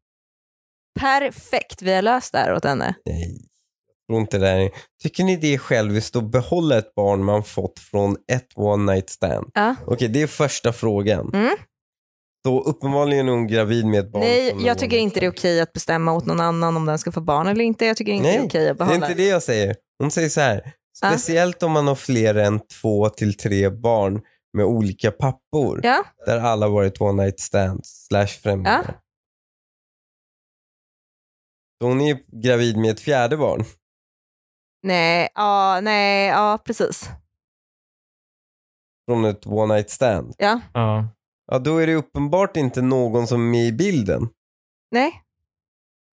A: Perfekt, vi har löst det här åt henne.
B: Nej, jag tror inte det. Här. Tycker ni det är själviskt att behålla ett barn man fått från ett one night stand?
A: Ja.
B: Okej, det är första frågan.
A: Mm.
B: Då uppenbarligen är hon gravid med ett barn.
A: Nej,
B: från en
A: jag tycker
B: one
A: inte det är
B: night
A: okej att bestämma åt någon annan om den ska få barn eller inte. Jag tycker inte det är
B: Nej,
A: okej att
B: stand.
A: behålla
B: Det är inte det jag säger. Hon säger så här.
A: Ja.
B: Speciellt om man har fler än två till tre barn med olika pappor.
A: Ja.
B: Där alla varit one night stands slash främlingar. Så hon är ju gravid med ett fjärde barn.
A: Nej, ja, nej, ja, precis.
B: Från ett one night stand.
A: Ja,
C: Ja.
B: Ja, då är det uppenbart inte någon som är med i bilden.
A: nej.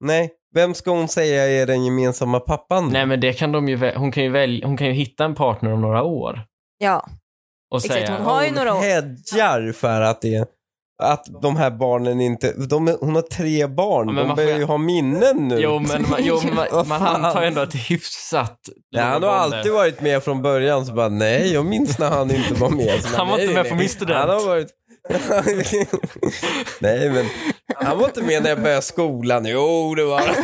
B: Nej, vem ska hon säga är den gemensamma pappan?
C: Nej, men det kan de ju, vä- hon, kan ju välja, hon kan ju hitta en partner om några år.
A: Ja,
C: Och
A: Exakt,
C: säga,
A: hon har ju
B: hon
A: några år.
B: hedgar för att det att de här barnen inte, de, hon har tre barn,
C: Ja, men
B: de
C: man
B: börjar
C: får-
B: ju ha minnen nu.
C: Jo, men, man, jo, men man,
A: <laughs>
B: Vad
C: man
B: fan.
C: antar ändå att det är hyfsat.
B: Nej, han har
C: långa
B: alltid
C: banor.
B: varit med från början, så bara nej, jag minns när han inte var med.
C: <laughs>
B: Så bara,
C: Han var
B: nej,
C: inte med
B: nej.
C: på min student.
B: Han har varit... <laughs> nej, men han var inte med när jag började skolan. Jo, det var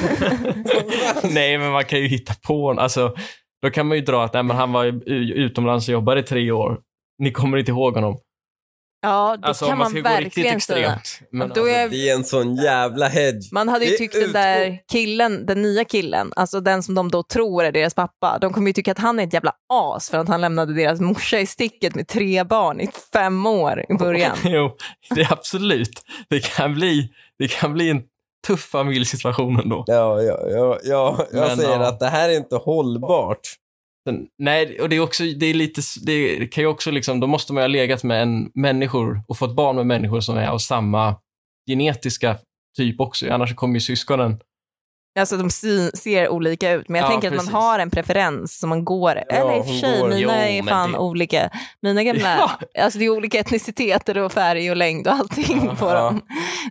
C: Nej, men man kan ju hitta på en. Alltså, då kan man ju dra att nej, men han var ju u- utomlands och jobbade i tre år. Ni kommer inte ihåg honom.
A: ja det
C: Alltså,
A: kan
C: om
A: man,
C: man ska gå riktigt
A: verkligen säga.
C: extremt. Men,
A: Då är-
B: <laughs> Det är en sån jävla hedge.
A: Man hade
B: Det
A: ju
B: är
A: tyckt den där killen, den nya killen, alltså den som de då tror är deras pappa, de kommer ju tycka att han är ett jävla as för att han lämnade deras morsa i sticket med tre barn i fem år i början.
C: <laughs> Jo, det är absolut. Det kan bli, det kan bli en tuff familjesituation ändå.
B: Ja, ja, ja, ja jag
C: Men,
B: säger
C: ja.
B: att det här är inte hållbart.
C: Sen, nej, och det är också, det är lite, s- det kan ju också liksom, då måste man ju ha legat med en människor och fått barn med människor som är av samma genetiska typ också. Annars kommer ju syskonen.
A: Alltså de sy- ser olika ut, men jag
C: Ja,
A: tänker att
C: precis.
A: man har en preferens som man går, eller i och för
B: hon
A: sig,
B: går-
A: mina
C: Jo,
A: är
C: men
A: fan
C: det-
A: olika. Mina gamla, alltså det är olika etniciteter och färg och längd och allting
C: Ja,
A: på
B: ja.
A: dem.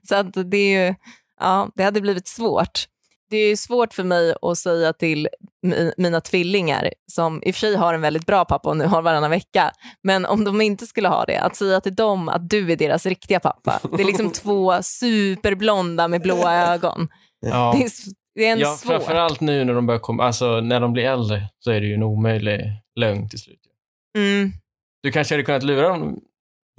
A: Så att det är ju, ja, det hade blivit svårt. Det är ju svårt för mig att säga till mi- mina tvillingar, som i och för sig har en väldigt bra pappa och nu har varannan vecka, men om de inte skulle ha det, att säga till dem att du är deras riktiga pappa. Det är
C: <laughs>
A: liksom två superblonda med blåa ögon.
C: Ja.
A: Det är, s- det är ändå
C: Ja,
A: svårt.
C: framförallt nu när de börjar komma, alltså när de blir äldre så är det ju en omöjlig lögn till slut.
A: Mm.
C: Du kanske hade kunnat lura dem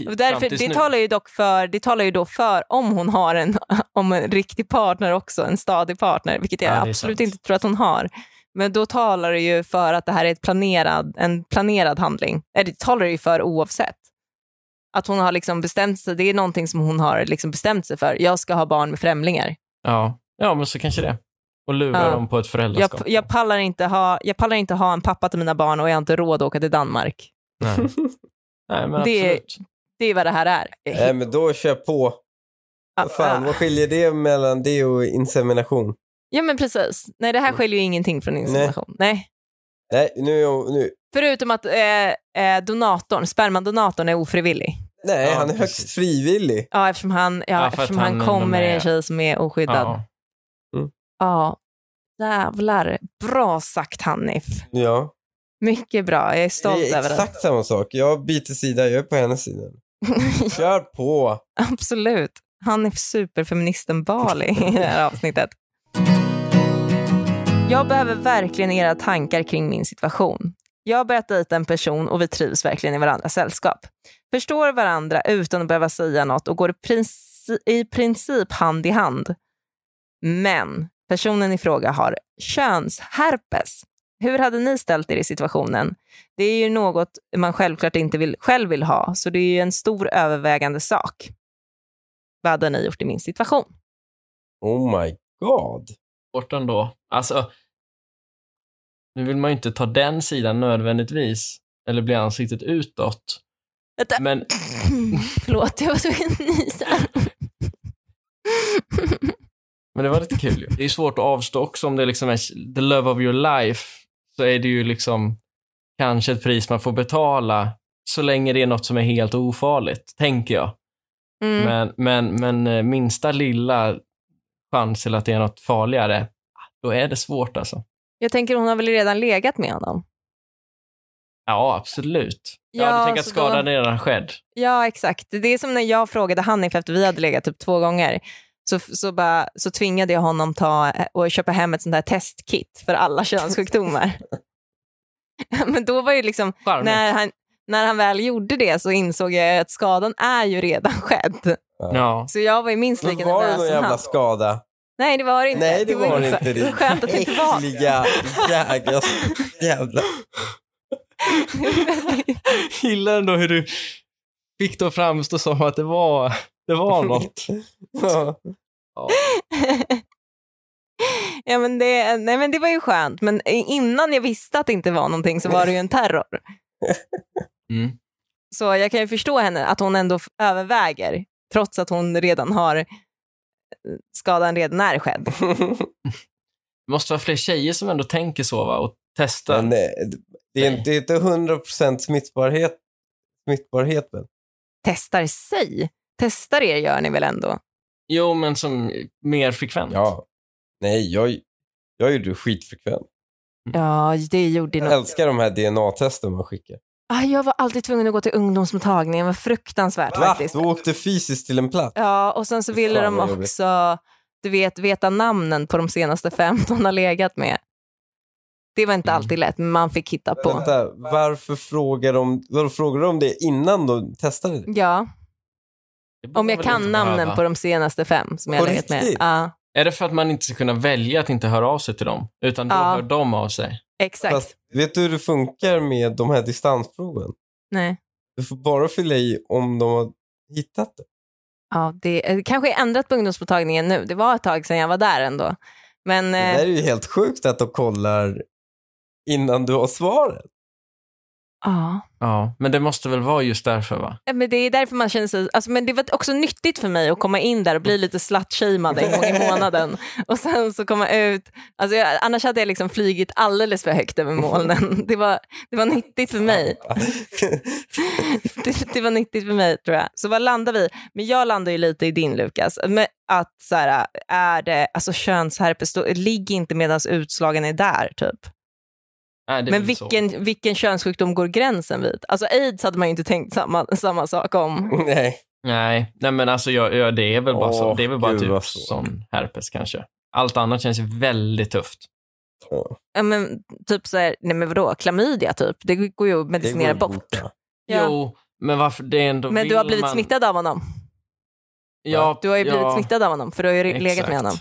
C: i-
A: Och
C: fram
A: därför,
C: tills
A: det
C: nu.
A: talar ju dock för, det talar ju då för om hon har en, <laughs> om en riktig partner också, en stadig partner, vilket jag
C: Ja, det är
A: absolut
C: sant.
A: inte tror att hon har. Men då talar det ju för att det här är ett planerad, en planerad handling. Eller det talar det ju för oavsett. Att hon har liksom bestämt sig, det är någonting som hon har liksom bestämt sig för. Jag ska ha barn med främlingar.
C: Ja. ja, men så kanske det. Och lura
A: Ja.
C: dem på ett
A: Jag,
C: föräldraskap.
A: jag, pallar inte ha, jag pallar inte ha en pappa till mina barn och jag har inte råd att åka till Danmark.
C: Nej. Nej, men
A: Det är-
C: absolut.
A: Det är vad det här är.
B: Nej, men då kör på. Vad fan, vad skiljer det mellan det och insemination?
A: Ja men precis. Nej det här skiljer ju ingenting från insemination. Nej.
B: Nej, nu, är jag- nu.
A: Förutom att eh, eh, donatorn, spermadonatorn är ofrivillig.
B: Nej,
C: Ja,
B: han är
C: precis.
B: högst frivillig.
A: Ja eftersom han, ja,
C: Ja, för att
A: eftersom han
C: han
A: kommer i
C: ändå
A: en
C: är-
A: tjej som är oskyddad. Ja.
C: Ja.
A: Jävlar. Bra sagt Hanif.
B: Ja.
A: Mycket bra. Jag är
B: Det
A: stolt
B: är
A: över det.
B: exakt samma sak. Jag byter sida, jag är på
A: <laughs>
B: hennes sida. Kör på.
A: Absolut. Hanif superfeministen Bali i det här avsnittet. Jag behöver verkligen era tankar kring min situation. Jag har börjat dejta en person och vi trivs verkligen i varandras sällskap. Förstår varandra utan att behöva säga något och går i, princi- i princip hand i hand. Men personen i fråga har könsherpes. Hur hade ni ställt er i situationen? Det är ju något man självklart inte vill, själv vill ha, så det är ju en stor övervägande sak. Vad hade ni gjort i min situation?
B: Oh my god.
C: Bort ändå. Alltså, nu vill man ju inte ta den sidan nödvändigtvis, eller bli ansiktet utåt.
A: Vänta.
C: Men
A: <laughs> Förlåt, jag var tvungen att nysa.
C: Men det var lite kul ju. Det är svårt att avstå också om det liksom är the love of your life. Så är det ju liksom, kanske ett pris man får betala så länge det är något som är helt ofarligt, tänker jag.
A: Mm.
C: Men, men, men eh, minsta lilla chans till att det är något farligare, ah, då är det svårt alltså.
A: Jag tänker hon har väl redan legat med honom?
C: Ja, absolut. Ja,
A: Ja,
C: du tänker att
A: så då-
C: skadan redan skedd?
A: Ja, exakt. Det är som när jag frågade Hanif efter vi hade legat typ två gånger. Så, så, bara, så tvingade jag honom ta eh, och köpa hem ett sånt där testkit för alla könssjukdomar. <laughs> Men då var ju liksom,
C: Charmigt.
A: när han, när han väl gjorde det så insåg jag att skadan är ju redan <laughs> skedd.
C: Ja.
A: Så jag var ju minst
B: Men
A: lika
B: var det
A: nervös
B: någon
A: som
B: jävla
A: han.
B: skada?
A: Nej, det var det inte.
B: Nej, det var
A: ju
B: inte
A: skönt-
B: det.
A: Skönt att det inte var
B: <laughs>
A: det.
B: Äckliga jägare. Jävla.
C: <laughs> Gillar ändå hur du fick det att framstå som att det var, det var något.
B: Ja.
C: Ja.
A: Ja, men det, nej, men det var ju skönt, men innan jag visste att det inte var någonting så var det ju en terror.
C: Mm.
A: Så jag kan ju förstå henne, att hon ändå f- överväger, trots att hon redan har eh, skadan redan är skedd.
C: Det måste vara fler tjejer som ändå tänker så va? och testar.
B: Men eh, det är inte, det är inte 100% smittbarhet. Smittbarhet väl?
A: Testar sig? Testar er gör ni väl ändå?
C: Jo, men som mer frekvent.
B: Ja. Nej, jag, jag gjorde det skitfrekvent.
A: Ja, det gjorde ni.
B: Jag älskar de här DNA-testen man skickar.
A: Ah, jag var alltid tvungen att gå till ungdomsmottagningen, det var fruktansvärt
B: Va?
A: faktiskt.
B: Du åkte fysiskt till en plats?
A: Ja, och sen så
B: Fy
A: ville
B: fan,
A: de
B: vad jobbigt.
A: också, du vet, veta namnen på de senaste fem de har legat med. Det var inte
C: Mm.
A: alltid lätt, men man fick hitta på.
B: Vänta, varför frågar de, varför frågar de det innan de testade det?
A: Ja,
C: Det borde
A: om jag
C: väl
A: kan
C: inte
A: namnen
C: behöva.
A: på de senaste fem som jag har
B: På
A: legat med.
B: riktigt?
A: Ja,
C: Är det för att man inte ska kunna välja att inte höra av sig till dem? Utan då
A: Ja.
C: hör de av sig?
A: exakt.
B: Fast, vet du hur det funkar med de här distansproven?
A: Nej.
B: Du får bara fylla i om de har hittat det.
A: Ja, det eh, kanske är ändrat på ungdomsmottagningen nu. Det var ett tag sedan jag var där ändå. Men
B: Det
A: eh,
B: där är ju helt sjukt att de kollar innan du
A: <laughs>
B: har svaret. <laughs>
A: ja,
C: Ja, men det måste väl vara just därför va?
A: Eh, men det är därför man känner sig... Alltså, men det var också nyttigt för mig att komma in där och bli lite slutshamead en gång i
B: <laughs>
A: månaden. Och sen så komma ut. Alltså, jag, annars hade jag liksom flygit alldeles för högt över molnen. <laughs> Det var, det var nyttigt för mig. <laughs> Det, det var nyttigt för mig tror jag. Så vad landar vi? Men jag landar ju lite i din Lukas. Men att så här, är det, alltså könsherpes, då, ligg inte medan utslagen är där typ.
C: Nej, det är
A: Men
C: väl så.
A: vilken, vilken könssjukdom går gränsen vid? Alltså aids hade man ju inte tänkt samma, samma sak om.
B: Nej.
C: Nej, nej men alltså jag, jag, det är väl bara, så,
B: Åh,
C: det är väl bara
B: gud,
C: typ
B: vad svårt.
C: sån herpes kanske. Allt annat känns ju väldigt tufft.
A: Ja, men, typ så här, nej men vadå, klamydia typ, det går ju att
B: Det går
A: medicinera
B: att
A: bort.
B: bota.
A: Ja.
C: Jo, men varför det är ändå
A: Men du
C: vill
A: har blivit
C: man...
A: smittad av honom.
C: Ja,
A: Du har ju
C: ja,
A: blivit smittad av honom, för du har ju re- legat med
C: exakt.
A: honom.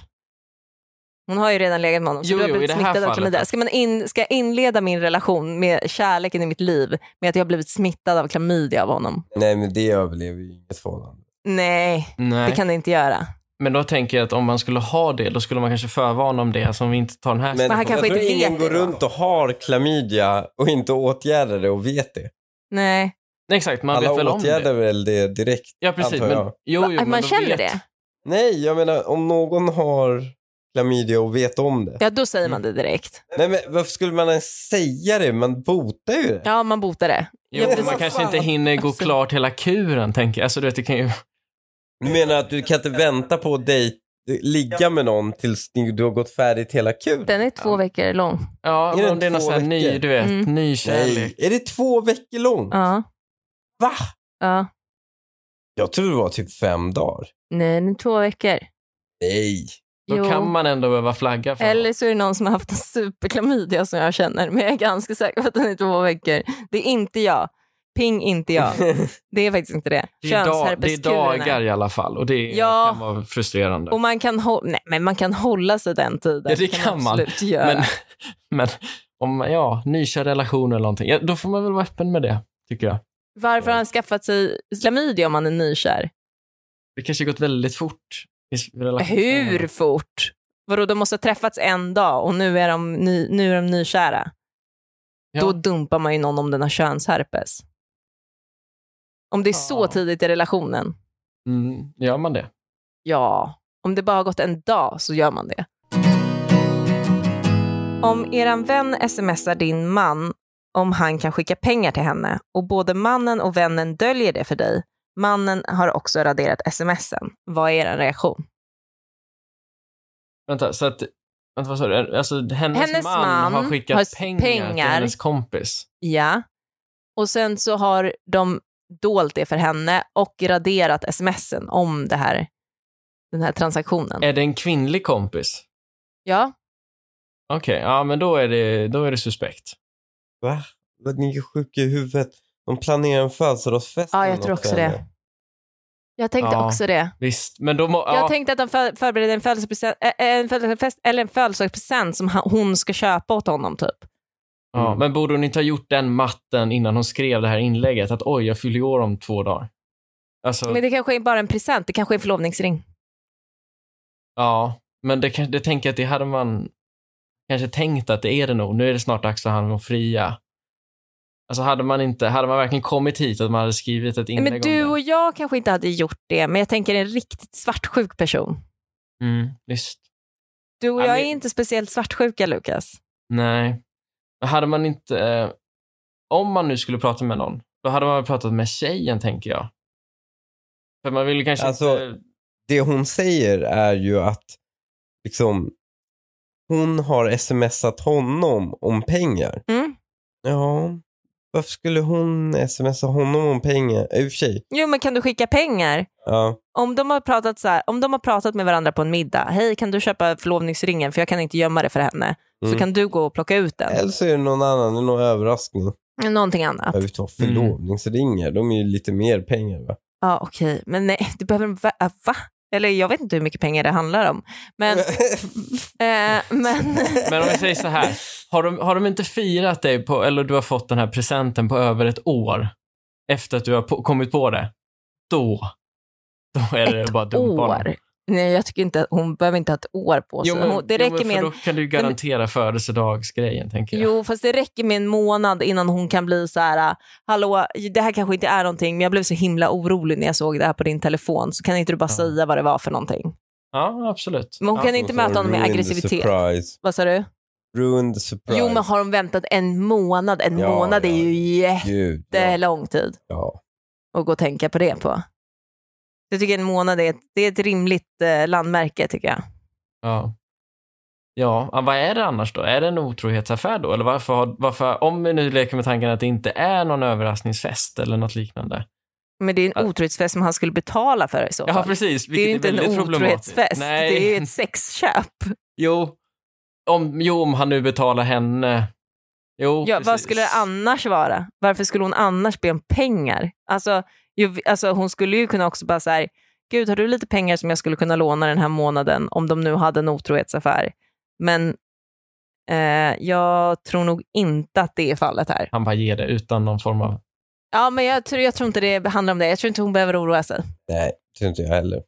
A: Hon har ju redan legat med honom, så
C: Jo,
A: du har
C: jo, i
A: blivit
C: det här
A: smittad av
C: fallet,
A: klamydia.
C: ja.
A: Ska, man in, ska jag inleda min relation med kärleken i mitt liv med att jag har blivit smittad av klamydia av honom?
B: Nej, men det överlever ju inget förhållande.
A: Nej,
C: Nej,
A: det kan det inte göra.
C: men då tänker jag att om man skulle ha det, då skulle man kanske förvarna om det, så om vi inte tar den här
B: Men
A: han
B: jag
A: kanske
B: tror
A: inte vet
B: ingen
A: det
B: går
A: då.
B: runt och har klamydia och inte åtgärdar det och vet det.
A: Nej.
C: Nej, Exakt, man vet väl
B: Alla
C: om det.
B: åtgärdar väl det direkt.
C: Ja, precis.
B: antar
C: Men,
B: jag.
C: jo, jo,
A: Va-
C: men
A: man
C: då
A: känner
C: vet...
A: det?
B: Nej, jag menar om någon har klamydia och vet om det.
A: Ja, då säger man det direkt.
B: Nej, men varför skulle man ens säga det? Man botar ju det.
A: Ja, man botar det.
C: Jo,
A: Ja,
C: men
A: precis.
C: man kanske inte hinner gå
A: Absolut.
C: klart hela kuren, tänker jag. Alltså, du vet, det kan ju...
B: Du menar att du kan inte vänta på att dejt, ligga med någon tills du har gått färdigt hela kuren?
A: Den är två veckor lång.
C: Ja,
B: Är det
C: om det är någon
B: två
C: sån här ny,
B: veckor?
C: du vet,
A: Mm.
C: ny
B: Nej,
C: kärlek.
B: är det två veckor lång?
A: Ja.
B: Va?
A: ja.
B: Jag tror det var typ fem dagar.
A: Nej, den är två veckor.
B: Nej.
C: Då
A: Jo.
C: kan man ändå behöva flagga för
A: Eller så är det någon som har haft en superklamydia som jag känner, men jag är ganska säker på att den är två veckor. Det är inte jag. Ping inte
C: <laughs>
A: jag. Det är faktiskt inte det.
C: det är, dag, det är
A: Könsherpeskuren är-
C: dagar i alla fall och det
A: Ja.
C: kan vara frustrerande.
A: Och man kan, hå- Nej, men man kan hålla sig den tiden.
C: Ja, det kan man.
A: absolut göra.
C: men, <laughs> men om man- ja, nykär relation eller någonting, ja, då får man väl vara öppen med det, tycker jag.
A: Varför har han skaffat sig klamydia om han är nykär?
C: Det kanske gått väldigt fort. i s- relation.
A: Hur fort? Vadå, de måste ha träffats en dag och nu är de, ny- nu är de nykära?
C: Ja.
A: Då dumpar man ju någon om den har könsherpes. Om det är så
C: Ja.
A: tidigt i relationen,
C: Mm, gör man det?
A: ja. Om det bara har gått en dag så gör man det. Om eran vän smsar din man om han kan skicka pengar till henne och både mannen och vännen döljer det för dig. Mannen har också raderat smsen. Vad är er reaktion?
C: Vänta, så att... Vänta, vad sa du? Alltså, hennes,
A: Hennes
C: man, har
A: man
C: skickat
A: har
C: pengar, till
A: pengar.
C: hennes kompis.
A: Ja. Och sen så har de dolt det för henne och raderat smsen om det här, den här transaktionen.
C: Är det en kvinnlig kompis?
A: Ja,
C: Okej, ja men då är det, då är det suspekt.
B: Va? Vad Ni är sjuka i huvudet. De planerar en födelsedagsfest.
A: Ja, jag
B: eller något
A: tror också
B: för
A: det.
B: henne.
A: jag tänkte
C: Ja.
A: också det.
C: Visst, men då må, ja,
A: Jag tänkte att de för, förberedde en födelsedagspresent, äh, en födelsedagsfest eller en födelsedagspresent som han- hon ska köpa åt honom typ.
C: ja, men borde hon inte ha gjort den matten innan hon skrev det här inlägget? Att oj, jag fyller ju år om två dagar. Alltså,
A: Men det kanske är bara en present, det kanske är en förlovningsring.
C: ja, men det, kan- det tänker jag att det hade man kanske tänkt att det är det nog. Nu är det snart dags för han att fria. Alltså hade man inte, hade man verkligen kommit hit att man hade skrivit ett inlägg
A: Men
C: om
A: du
C: det?
A: och jag kanske inte hade gjort det, men jag tänker en riktigt svartsjuk person.
C: Mm, visst.
A: Du och
C: Ja,
A: jag är
C: men-
A: inte speciellt svartsjuka, Lukas.
C: Nej. Men Hade man inte... Eh, om man nu skulle prata med någon, då hade man väl pratat med tjejen, tänker jag. För man vill ju kanske
B: Alltså-
C: inte...
B: Det hon säger är ju att liksom, hon har smsat honom om pengar.
A: Mm.
B: Ja, varför skulle hon smsa honom om pengar? I och för sig.
A: Jo, men kan du skicka pengar?
B: Ja.
A: Om de, har pratat så här, om de har pratat med varandra på en middag, hej kan du köpa förlovningsringen för jag kan inte gömma det för henne,
B: Mm.
A: så kan du gå och plocka ut den.
B: Eller så är det någon annan, det är någon överraskning.
A: Någonting annat.
B: Jag vet vad,
A: Mm.
B: förlovningsringar, de är ju lite mer pengar va?
A: Ja, okej. Men nej, du behöver en va? äh, va? Eller jag vet inte hur mycket pengar det handlar om.
B: <laughs>
C: <laughs>
A: Men, eh, men
C: Men om vi säger så här, har de, har de inte firat dig på, eller du har fått den här presenten på över ett år efter att du har på, kommit på det, då, då är det
A: ett
C: bara dumpa honom.
A: år. Nej, jag tycker inte att hon behöver inte ha ett år på sig.
C: Jo, men,
A: Hon- det räcker
C: jo, men
A: med
C: för
A: en,
C: då kan du ju garantera födelsedagsgrejen, tänker jag.
A: Jo, fast det räcker med en månad innan hon kan bli så här, äh, hallå, det här kanske inte är någonting, men jag blev så himla orolig när jag såg det här på din telefon, så kan inte du bara
C: Ja.
A: säga vad det var för någonting?
C: Ja, absolut.
A: Men hon
C: ja.
A: kan inte möta honom med
B: Ruin Alltså, the
A: aggressivitet.
B: Surprise.
A: Vad sa du?
B: Ruined surprise.
A: Jo, men har de väntat en månad? En
B: Ja,
A: månad
B: ja.
A: är ju
B: Gud, ja.
A: jättelång tid
B: ja.
A: att gå och tänka på det på. Jag tycker en månad är ett, det är ett rimligt eh, landmärke tycker jag.
C: Ja. Ja, ah, vad är det annars då? Är det en otrohetsaffär då? Eller varför, har- varför om vi nu leker med tanken att det inte är någon överraskningsfest eller något liknande.
A: Men det är en
C: Ja.
A: otrohetsfest som han skulle betala för i så fall.
C: Ja, precis.
A: det är ju
C: vilket
A: inte
C: väldigt
A: en
C: problematiskt.
A: otrohetsfest,
C: Nej,
A: det är ju ett
C: <laughs>
A: sexköp.
C: jo. Om, jo, om han nu betalar henne. Jo,
A: Ja, vad
C: Oh, precis.
A: skulle det annars vara? Varför skulle hon annars be om pengar? Alltså, ju, alltså hon skulle ju kunna också bara så här, gud har du lite pengar som jag skulle kunna låna den här månaden om de nu hade en otrohetsaffär? Men eh, jag tror nog inte att det är fallet här.
C: Han bara ger det utan någon form av...
A: Ja, men jag tror, jag tror inte det handlar om det. Jag tror inte hon behöver oroa sig.
B: Nej, det tror inte jag heller.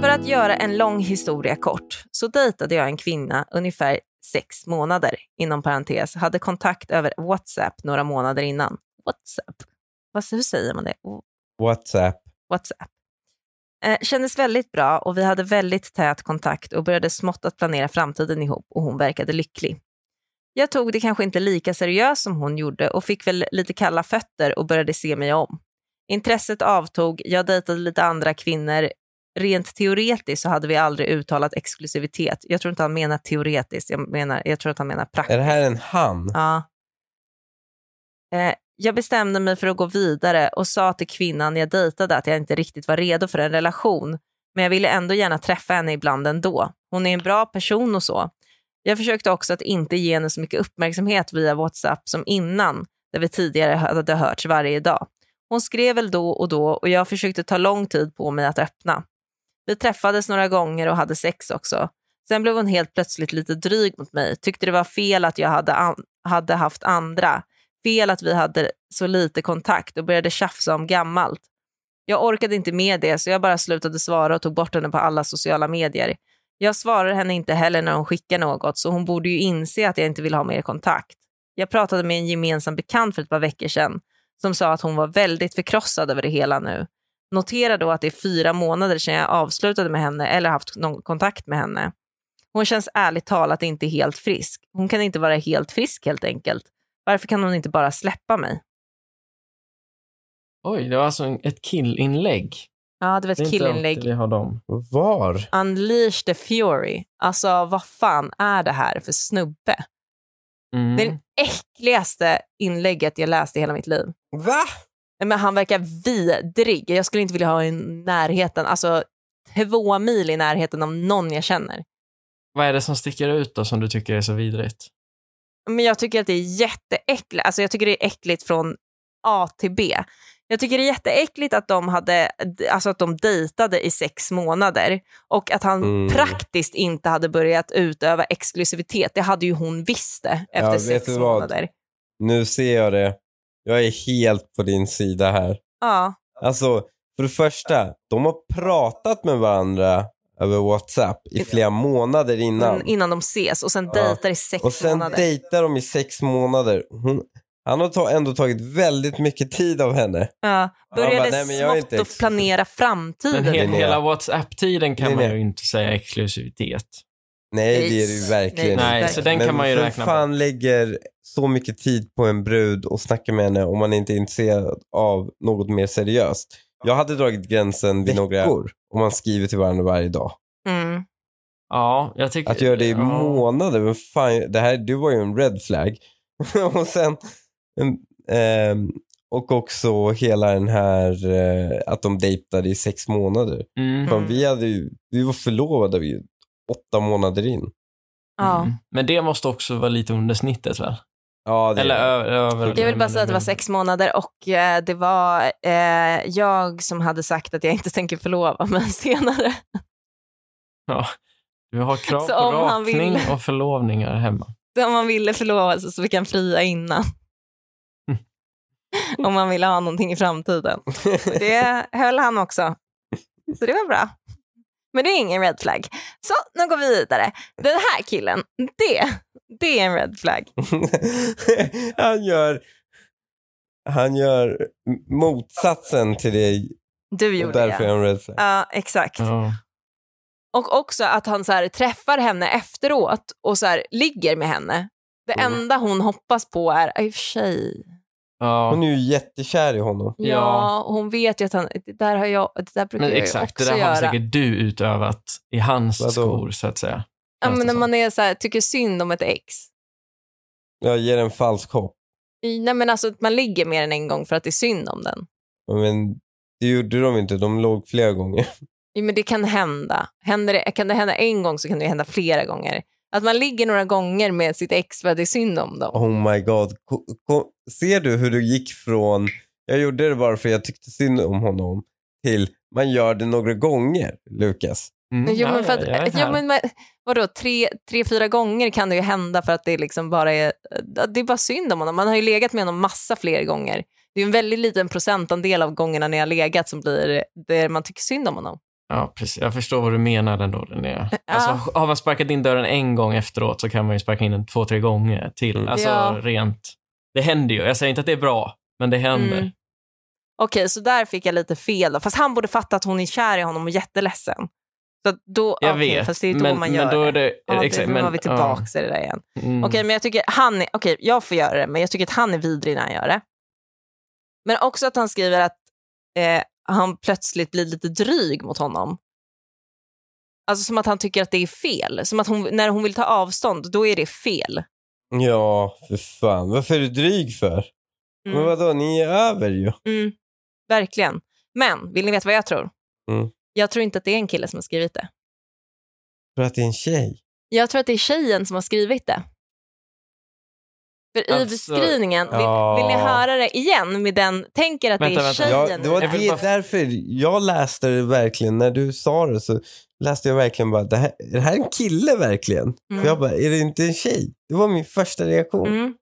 A: För att göra en lång historia kort så dejtade jag en kvinna ungefär sex månader, inom parentes, hade kontakt över WhatsApp några månader innan. WhatsApp? Vad, hur säger man det? O-
B: WhatsApp.
A: WhatsApp. Eh, kändes väldigt bra och vi hade väldigt tät kontakt och började smått att planera framtiden ihop och hon verkade lycklig. Jag tog det kanske inte lika seriöst som hon gjorde och fick väl lite kalla fötter och började se mig om. Intresset avtog, jag dejtade lite andra kvinnor. Rent teoretiskt så hade vi aldrig uttalat exklusivitet. Jag tror inte han menar teoretiskt, jag, menar, jag tror att han menar praktiskt.
B: Är det här en han?
A: Ja. Eh, jag bestämde mig för att gå vidare och sa till kvinnan jag dejtade att jag inte riktigt var redo för en relation, men jag ville ändå gärna träffa henne ibland ändå. Hon är en bra person och så. Jag försökte också att inte ge henne så mycket uppmärksamhet via WhatsApp som innan, där vi tidigare hade hörts varje dag. Hon skrev väl då och då och jag försökte ta lång tid på mig att öppna. Vi träffades några gånger och hade sex också. Sen blev hon helt plötsligt lite dryg mot mig, tyckte det var fel att jag hade an- hade haft andra. Fel att vi hade så lite kontakt och började tjafsa om gammalt. Jag orkade inte med det så jag bara slutade svara och tog bort henne på alla sociala medier. Jag svarar henne inte heller när hon skickar något så hon borde ju inse att jag inte vill ha mer kontakt. Jag pratade med en gemensam bekant för ett par veckor sedan som sa att hon var väldigt förkrossad över det hela nu. Notera då att det är fyra månader sedan jag avslutade med henne eller haft någon kontakt med henne. Hon känns ärligt talat inte helt frisk. Hon kan inte vara helt frisk helt enkelt. Varför kan hon inte bara släppa mig?
C: Oj, det var alltså en- ett killinlägg.
A: Ja, det var
C: Det är
A: ett
C: inte alltid
A: killinlägg.
C: Vi har dem.
B: Var?
A: Unleash the Fury. Alltså, vad fan är det här för snubbe?
C: Mm.
A: Det är det äckligaste inlägget jag läst i hela mitt liv.
B: Va?
A: Nej, Men han verkar vidrig. Jag skulle inte vilja ha i närheten, alltså två mil i närheten av någon jag känner.
C: Vad är det som sticker ut då som du tycker är så vidrigt?
A: Men jag tycker att det är jätteäckligt. Alltså jag tycker det är äckligt från A till B. Jag tycker det är jätteäckligt att de, hade, alltså att de dejtade i sex månader och att han
B: Mm.
A: praktiskt inte hade börjat utöva exklusivitet. Det hade ju hon visst det efter
B: Ja, vet
A: sex
B: du vad?
A: månader.
B: Nu ser jag det. Jag är helt på din sida här.
A: Ja,
B: Alltså, för det första, de har pratat med varandra över WhatsApp i flera månader innan.
A: innan. innan de ses och sen
B: Ja.
A: dejtar i Mm, sex
B: Och sen
A: månader.
B: dejtar de i sex månader. Hon, han har ta, ändå tagit väldigt mycket tid av henne.
A: Ja,
B: bara,
A: började
B: "Nej, men jag är
A: smått
B: inte
A: att planera framtiden.
C: Men he-
B: Linnea.
C: hela WhatsApp-tiden kan man
B: Linnea.
C: ju inte säga exklusivitet.
B: Nej, det är det ju
A: Nej,
B: verkligen
C: Nej,
A: verkligen.
C: så den kan man ju
B: vem
C: räkna bort.
B: fan lägger så mycket tid på en brud och snackar med henne om man inte är intresserad av något mer seriöst? Jag hade dragit gränsen vid några veckor om man skriver till varandra varje dag.
A: Mm.
C: Ja, jag tycker...
B: Att göra det i
C: ja.
B: månader, men fan, det här, du var ju en red flag. <laughs> och sen, en, ehm, och också hela den här eh, att de dejtade i sex månader.
C: Mm.
B: Fan,
A: Mm.
B: vi, hade ju, vi var förlovade vi, åtta månader in.
A: Ja.
C: Mm. Men det måste också vara lite under snittet väl?
B: Ja, det
C: Eller ö- över...
A: Jag vill bara säga att det var sex månader och eh, det var eh, jag som hade sagt att jag inte tänker förlova mig <laughs> senare.
C: Du har krav
A: Så
C: på
A: om han
C: rakning
A: vill-
C: och förlovningar hemma.
A: Så om man ville förlova sig så fick han fria
B: <laughs>
A: innan. om man ville ha någonting i framtiden. Och Det höll han också. Så det var bra. Men det är ingen red flag. Så nu går vi vidare. Den här killen, det, det är en red flag.
B: <laughs> han gör han gör motsatsen till dig
A: Du
B: och
A: gjorde
B: därför är
A: det.
B: han rädd för det.
A: Ja, exakt.
C: Ja.
A: Och också att han så här, träffar henne efteråt och så här, ligger med henne. Det
B: Mm.
A: enda hon hoppas på är, "Ah, i och för sig,
C: ja.
B: Hon är ju jättekär i honom.
A: ja,
C: Ja.
A: hon vet ju att han, det där, har jag, det där brukar
C: Men
A: jag ju
C: exakt, det
A: också
C: där har
A: göra.
C: säkert du utövat i hans
B: Vadå?
C: skor så att säga.
A: Ja,
C: känns det
A: men när
C: som.
A: man är så här, tycker synd om ett ex.
B: Jag ger en falsk hopp.
A: I- Nej, men alltså att man ligger med den en gång för att det är synd om den.
B: Men det gjorde de inte. De låg flera gånger.
A: Jo, men det kan hända. Händer det, kan det hända en gång så kan det hända flera gånger. Att man ligger några gånger med sitt ex för att det är synd om dem.
B: Oh my god. Ko- ko- Ser du hur du gick från jag gjorde det bara för jag tyckte synd om honom till man gör det några gånger, Lukas.
C: Mm,
A: Jo,
C: ja,
A: men för
C: ja, jag är
A: att, jo,
C: här.
A: men, men, vadå, tre, tre, fyra gånger kan det ju hända för att det liksom bara är, det är bara synd om honom. Man har ju legat med honom massa fler gånger. Det är ju en väldigt liten procentandel av gångerna ni har legat som blir det man tycker synd om honom.
C: Ja, precis. Jag förstår vad du menar ändå, Linnea. Alltså, har man sparkat in dörren en gång efteråt så kan man ju sparka in den två, tre gånger till.
B: Mm.
C: Alltså
A: Ja.
C: rent. Det händer ju. Jag säger inte att det är bra, men det händer.
A: Mm. Okej, så där fick jag lite fel då. Fast han borde fatta att hon är kär i honom och jätteledsen. Så att då,
C: Jag
A: okej,
C: vet,
A: fast det är då
C: men,
A: man gör
C: men då är
A: det.
C: det... eh,
A: Ja,
C: exakt,
A: nu
C: men-
A: var vi tillbaka i det där igen.
C: ja. Mm.
A: Okej, men jag tycker han är, okej, jag får göra det, men jag tycker att han är vidrig när han gör det. Men också att han skriver att eh, han plötsligt blir lite dryg mot honom. Alltså som att han tycker att det är fel. Som att hon, när hon vill ta avstånd, då är det fel.
B: Ja, för fan. Varför är du dryg för?
A: Mm.
B: Men vadå, ni är över ju.
A: Mm, verkligen. Men, vill ni veta vad jag tror?
B: Mm.
A: Jag tror inte att det är en kille som har skrivit det.
B: För att det är en tjej.
A: Jag tror att det är tjejen som har skrivit det. För i
C: Alltså,
A: beskrivningen, vill,
B: ja.
A: vill ni höra det igen med den, tänker att
C: Vänta,
A: det är
C: vänta.
A: tjejen.
B: Ja, det var
A: i
C: Jag vill
B: det,
C: bara-
B: därför jag läste det verkligen. När du sa det så läste jag verkligen bara, det här, är det här en kille verkligen?
A: Mm.
B: Och jag bara, är det inte en tjej? Det var min första reaktion.
A: Mm.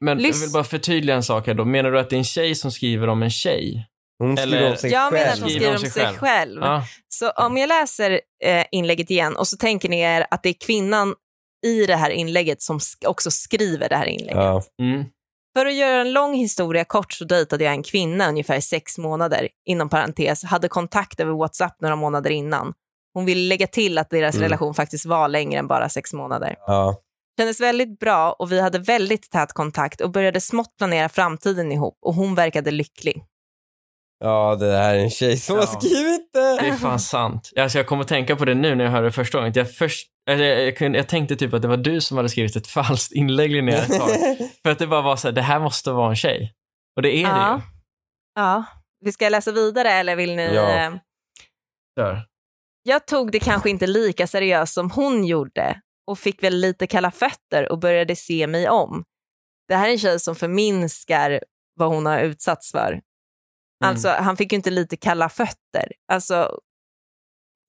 C: Men jag
A: Lys-
C: vill bara förtydliga en sak här då. Menar du att det är en tjej som skriver om en tjej?
B: Hon skriver
C: Eller-
B: om sig
A: Jag menar att
B: själv.
A: hon skriver om sig själv.
C: Ja.
A: Så om jag läser eh, inlägget igen och så tänker ni er att det är kvinnan i det här inlägget som sk- också skriver det här inlägget.
B: Ja.
C: Mm.
A: För att göra en lång historia kort så dejtade jag en kvinna ungefär i sex månader, inom parentes, hade kontakt över WhatsApp några månader innan. Hon vill lägga till att deras
B: Mm.
A: relation faktiskt var längre än bara sex månader.
B: Ja.
A: Kändes väldigt bra och vi hade väldigt tät kontakt och började smått planera framtiden ihop och hon verkade lycklig.
B: ja, det här är en tjej som
C: Ja.
B: har skrivit det.
C: Det är fan sant. Alltså, jag kommer att tänka på det nu när jag hörde det första gången. Jag, först, eller, jag, jag, kunde- jag tänkte typ att det var du som hade skrivit ett <laughs> falskt inlägg
A: <laughs>
C: ner ett tag. För att det bara var så här, det här måste vara en tjej. Och det är det
A: Ja.
C: ju.
A: Ja. Vi ska läsa vidare eller vill ni?
B: Ja.
A: eh,
C: Kör.
A: Jag tog det kanske inte lika seriöst som hon gjorde och fick väl lite kalla fötter och började se mig om. Det här är en tjej som förminskar vad hon har utsatts för.
C: Mm.
A: Alltså, han fick ju inte lite kalla fötter. Alltså,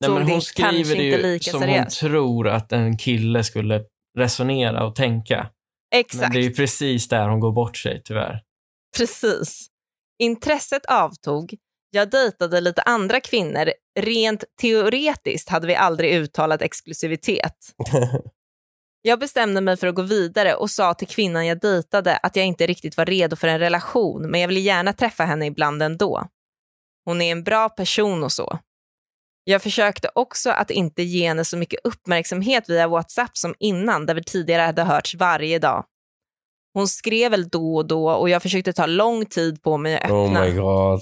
C: Nej,
A: Så
C: men
A: det
C: hon
A: kanske
C: skriver det
A: inte
C: ju
A: lika
C: som
A: seriöst.
C: hon tror att en kille skulle resonera och tänka. Men
A: exakt.
C: det är ju precis där hon går bort sig tyvärr.
A: <laughs> Precis. Intresset avtog. Jag dejtade lite andra kvinnor. Rent teoretiskt hade vi aldrig uttalat exklusivitet. Jag bestämde mig för att gå vidare och sa till kvinnan jag dejtade att jag inte riktigt var redo för en relation men jag ville gärna träffa henne ibland ändå. Hon är en bra person och så. Jag försökte också att inte ge henne så mycket uppmärksamhet via WhatsApp som innan där vi tidigare hade hörts varje dag. Hon skrev väl då och då och jag försökte ta lång tid på mig att öppna.
B: <laughs> oh my god.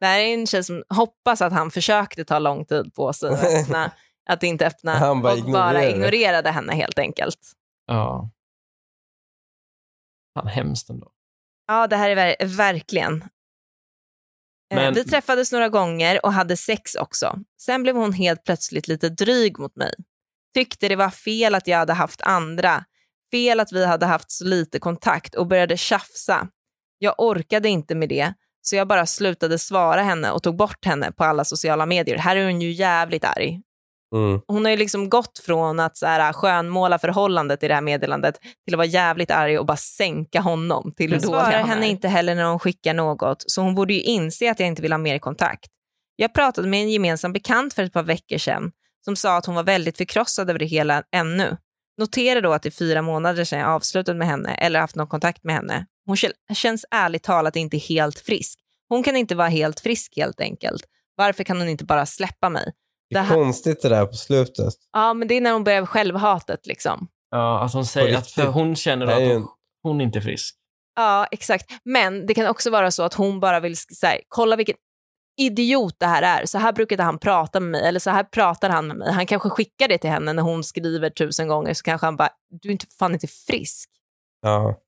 A: Det här är en tjej som hoppas att han försökte ta lång tid på sig att,
B: <laughs>
A: öppna, att inte öppna
B: Han bara
A: och bara
B: ignorerade.
A: ignorerade henne helt enkelt.
C: Ja. Fan, hemskt ändå.
A: Ja, det här är ver- verkligen. Eh,
C: Men-
A: Vi träffades några gånger och hade sex också. Sen blev hon helt plötsligt lite dryg mot mig. Tyckte det var fel att jag hade haft andra, fel att vi hade haft så lite kontakt och började tjafsa. Jag orkade inte med det, så jag bara slutade svara henne och tog bort henne på alla sociala medier. Här är hon ju jävligt arg
B: Mm.
A: hon har ju liksom gått från att så här, äh, skönmåla förhållandet i det här meddelandet till att vara jävligt arg och bara sänka honom till hur
D: Hur
A: dålig
D: dålig
A: svarar
D: han
A: henne
D: är.
A: inte heller när hon skickar något, så hon borde ju inse att jag inte vill ha mer kontakt. Jag pratade med en gemensam bekant för ett par veckor sedan som sa att hon var väldigt förkrossad över det hela ännu. Notera då att det är fyra månader sedan jag avslutat med henne eller haft någon kontakt med henne. Hon kä- känns ärligt talat inte helt frisk. Hon kan inte vara helt frisk helt enkelt. Varför kan hon inte bara släppa mig?
B: Det är
A: Det här-
B: konstigt det där på slutet.
A: Ja, men det är när hon börjar med självhatet liksom.
C: Ja, att hon säger
B: På
C: att
B: riktigt.
C: hon känner
B: Det är ju
C: att
B: en-
C: hon, hon inte är frisk.
A: Ja, exakt. Men det kan också vara så att hon bara vill sk- så här, kolla vilken idiot det här är. Så här brukade han prata med mig eller så här pratar han med mig. Han kanske skickar det till henne när hon skriver tusen gånger så kanske han bara, du är inte fan inte frisk.
B: Ja.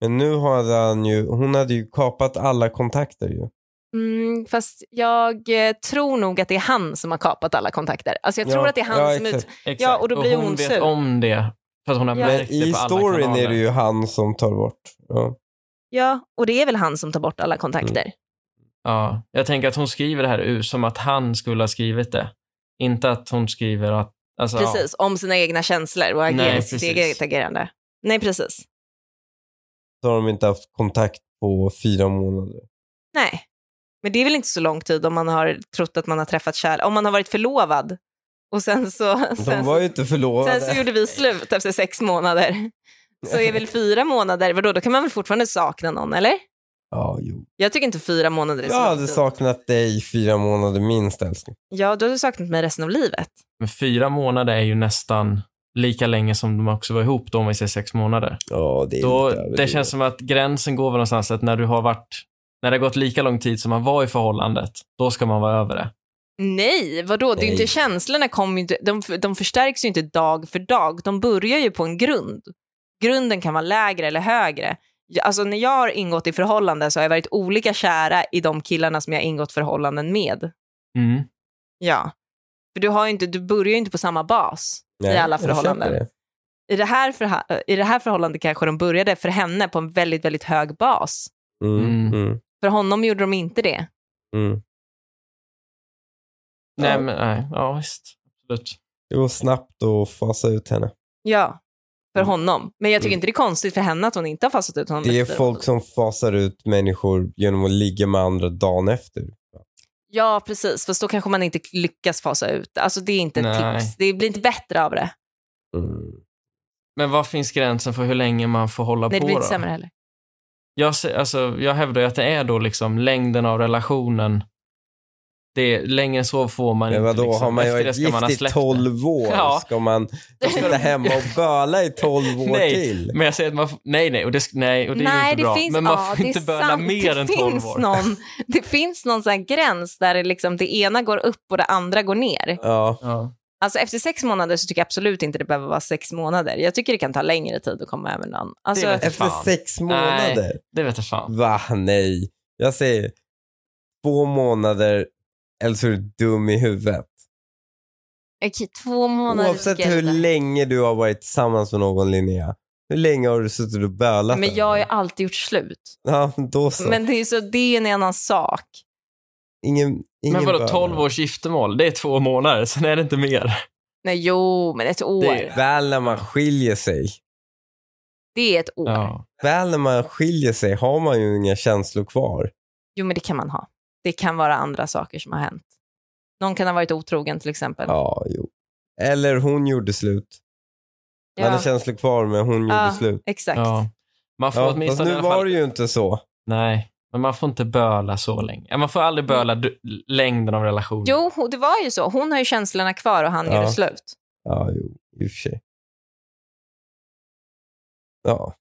B: Men nu hade han ju, hon hade ju kapat alla kontakter ju.
A: Mm, fast jag eh, tror nog att det är han som har kapat alla kontakter. Alltså jag tror
B: Ja,
A: att det är han
B: ja,
A: som
B: exakt.
A: ut...
C: Exakt.
A: Ja, och då blir
C: hon,
A: hon
C: vet
A: sur.
C: om det. För att hon har
A: Ja.
C: märkt det
B: I
C: på alla
B: storyn
C: kanaler.
B: är det ju han som tar bort. Ja.
A: Ja, och det är väl han som tar bort alla kontakter.
C: Ja, jag tänker att hon skriver det här ur som att han skulle ha skrivit det. Inte att hon skriver att... Alltså, ja.
A: Precis, om sina egna känslor och agerar,
C: Nej,
A: sitt
C: precis.
A: eget agerande. Nej, precis.
B: Så har de inte haft kontakt på fyra månader.
A: Nej. Men det är väl inte så lång tid om man har trott att man har träffat kärlek, om man har varit förlovad och sen så,
B: De
A: sen,
B: var ju inte
A: sen så
B: förlovade.
A: gjorde vi slut efter sex månader. Så är väl fyra månader, vadå, då kan man väl fortfarande sakna någon eller?
B: Ja, jo.
A: Jag tycker inte fyra månader är så
B: Jag
A: lång
B: hade
A: tid.
B: saknat dig i fyra månader minst älskling.
A: Ja, då har du saknat mig resten av livet.
C: Men fyra månader är ju nästan lika länge som de också var ihop då, om vi säger sex månader.
B: Ja, det är
C: Då,
B: lite
C: det
B: överdrivet.
C: känns som att gränsen går väl någonstans att när du har varit... När det har gått lika lång tid som man var i förhållandet, då ska man vara över det.
A: Nej, vadå, det är ju inte
B: Nej.
A: känslorna kommer ju inte, de, de förstärks ju inte dag för dag, de börjar ju på en grund. Grunden kan vara lägre eller högre. Jag- Alltså när jag har ingått i förhållanden så har jag varit olika kära i de killarna som jag har ingått förhållanden med.
C: Mm.
A: Ja. För du, har ju inte, du börjar ju inte på samma bas
B: Nej,
A: i alla
B: jag köper
A: förhållanden.
B: det.
A: I det, här förha- I det här förhållandet kanske de började för henne på en väldigt, väldigt hög bas.
B: Mm,
C: Mm.
B: mm,
A: För honom gjorde de inte det.
B: mm. Ja.
C: Nej, men nej. Ja, visst. Absolut.
B: Det går snabbt att fasa ut henne.
A: Ja, för
B: Mm.
A: honom. Men jag tycker
B: Mm.
A: inte det är konstigt för henne att hon inte har fastat ut honom.
B: Det är
A: efter-
B: folk som fasar ut människor genom att ligga med andra dagen efter.
A: Ja, precis. Fast då kanske man inte lyckas fasa ut det. Alltså, det är inte ett
C: Nej.
A: tips. Det blir inte bättre av det.
B: Mm.
C: Men vad finns gränsen för hur länge man får hålla
A: Nej, det
C: på?
A: blir inte
C: då?
A: sämre heller.
C: jag, se- alltså, jag hävdar ju att det är då liksom längden av relationen. Det är, längre än så får man
B: Men
C: inte.
B: vadå,
C: liksom.
B: har man ju
C: Efter det
B: varit
C: ska man ha
B: gift i
C: släppt det.
B: 12 år?
C: Ja.
B: Ska man sitta hemma och böla i 12 år
C: Nej,
B: till?
C: Men jag säger att man får, nej, nej, och det, sk- nej, och det är ju
A: Nej,
C: inte
A: det
C: bra.
A: finns,
C: men man
A: ja,
C: får
A: det
C: inte
A: är
C: böla
A: sant.
C: mer
A: det
C: än 12
A: finns
C: år.
A: Någon, <laughs> det finns någon sån här gräns där det, liksom, det ena går upp och det andra går ner.
B: Ja,
C: Ja.
A: Alltså efter sex månader så tycker jag absolut inte det behöver vara sex månader. Jag tycker det kan ta längre tid att komma över någon. Alltså,
C: Det är väl-
B: efter
C: Fan.
B: sex månader?
C: Det vet jag fan.
B: Va, nej. Jag säger två månader eller så är du dum i huvudet.
A: okej, två månader
B: Oavsett
A: tycker jag
B: hur
A: är lite.
B: länge du har varit tillsammans med någon Linnea. Hur länge har du suttit och bölat?
A: Men
B: där?
A: jag har ju alltid gjort slut.
B: Ja, då så.
A: Men det är, ju så, det är ju en annan sak.
B: ingen, ingen
C: Men vadå,
B: bölar.
C: 12 års giftermål? Det är två månader, <laughs> sen är det inte mer.
A: Nej, jo, men ett år.
C: Det-
A: Det,
B: Väl när man skiljer sig.
A: är ett år.
C: Ja.
B: Väl när man skiljer sig har man ju inga känslor kvar.
A: Jo, men det kan man ha. Det kan vara andra saker som har hänt. Någon kan ha varit otrogen till exempel.
B: Ja, jo. Eller hon gjorde slut. Man
A: Ja,
B: hade känslor kvar men hon gjorde
A: Ja.
B: slut.
A: exakt.
C: Ja. Man får
B: Ja, fast
C: åtminstone i
B: nu
C: alla fall...
B: var det ju inte så.
C: Nej, men man får inte böla så länge. Ja, Man får aldrig böla du... längden av relationen.
A: Jo, och det var ju så. Hon har ju känslorna kvar och han
B: Ja.
A: gjorde slut.
B: Ja, jo, i och för sig. Ja.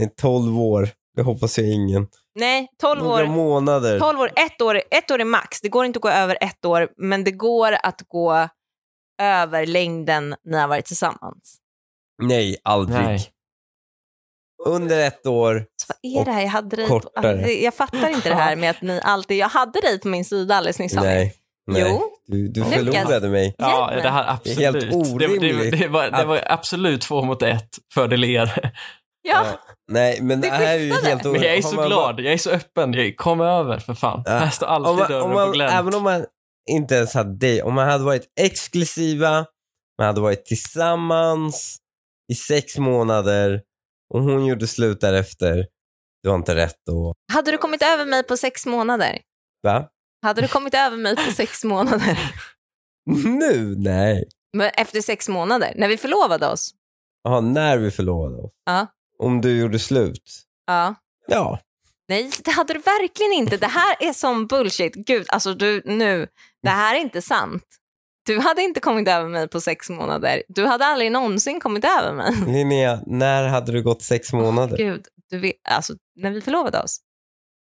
B: Nej, 12 år. Det hoppas jag ingen.
A: Nej, 12
B: Några
A: år.
B: månader.
A: 12 år, ett år, ett år är max. Det går inte att gå över ett år, men det går att gå över längden ni har varit tillsammans.
B: Nej, aldrig.
C: Nej.
B: Under ett år.
A: Så vad är
B: Och
A: det här? Jag hade dig på,
B: kortare.
A: det- jag fattar inte det här med att ni alltid... Jag hade dig på min sida alldeles nyss. Hanif.
B: Nej. nej.
A: Jo,
B: Du, du
A: Lukas.
B: förlorade mig.
C: Ja,
A: Hjälp mig.
C: det här
B: Det är
C: absolut.
B: helt
C: det, det,
B: orimligt
C: det, var, det
B: att-
C: var absolut två mot ett
B: <laughs>
C: fördel er.
A: ja.
B: Nej, men det
A: Det
B: här är ju
A: skiftade.
B: helt
C: Men jag är
B: orimligt.
C: så
B: Om man-
C: glad. Jag är så öppen. Jag kom över för fan.
B: Ja.
C: Här står alltid
B: Om man,
C: dörren
B: om man,
C: på glänt.
B: även om man inte ens hade dig, om man hade varit exklusiva, man hade varit tillsammans i sex månader och hon gjorde slut därefter, du har inte rätt då.
A: Hade du kommit över mig på sex månader?
B: Va?
A: Hade du kommit över mig på sex månader?
B: <laughs> Nu? Nej.
A: Men efter sex månader, när vi förlovade oss?
B: Jaha, när vi förlovade oss.
A: Ja.
B: Om du gjorde slut.
A: Ja.
B: Ja.
A: Nej, det hade du verkligen inte. Det här är som bullshit. Gud, alltså du, nu. Det här är inte sant. Du hade inte kommit över mig på sex månader. Du hade aldrig någonsin kommit över mig.
B: Linnea, när hade du gått sex månader?
A: Gud, du vet, alltså när vi förlovade oss.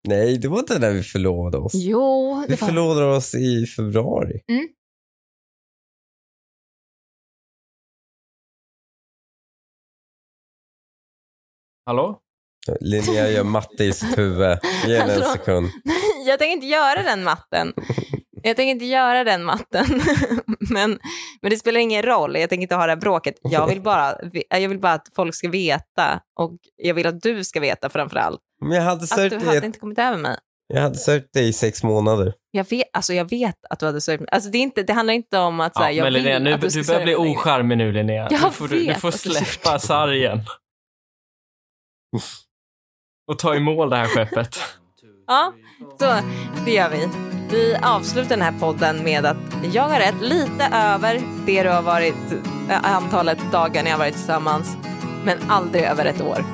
B: Nej, det var inte när vi förlovade oss.
A: Jo,
B: Vi förlovade oss i februari.
A: Mm.
C: Hallå?
B: Linnea gör matte i sitt huvud. Ge henne en
A: Hallå?
B: sekund.
A: Jag tänker inte göra den matten. Jag tänker inte göra den matten. <laughs> Men, men det spelar ingen roll. Jag tänker inte ha det här bråket. Jag vill, bara, jag vill bara att folk ska veta. Och jag vill att du ska veta framför allt.
B: Men jag hade
A: Att
B: sökt
A: du
B: dig
A: hade
B: ett-
A: inte kommit över mig.
B: Jag hade sökt dig i sex månader.
A: Jag vet, alltså jag vet att du hade sörjt mig. Alltså det, är inte, det handlar inte om att så här,
C: ja,
A: jag
C: men
A: vill
C: Linnea, nu,
A: att du ska
C: du börjar bli
A: sörja mig längre.
C: ocharmig nu Linnea.
A: Jag
C: nu får du, du
A: vet
C: får
A: att det är
C: släppa sargen. Och ta i mål det här skeppet.
A: Ja, så det gör vi. Vi avslutar den här podden med att jag har rätt lite över det du har varit, eh, antalet dagar ni har varit tillsammans, men aldrig över ett år.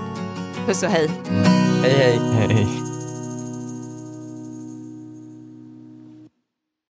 A: Puss och hej.
B: Hej hej.
C: Hej.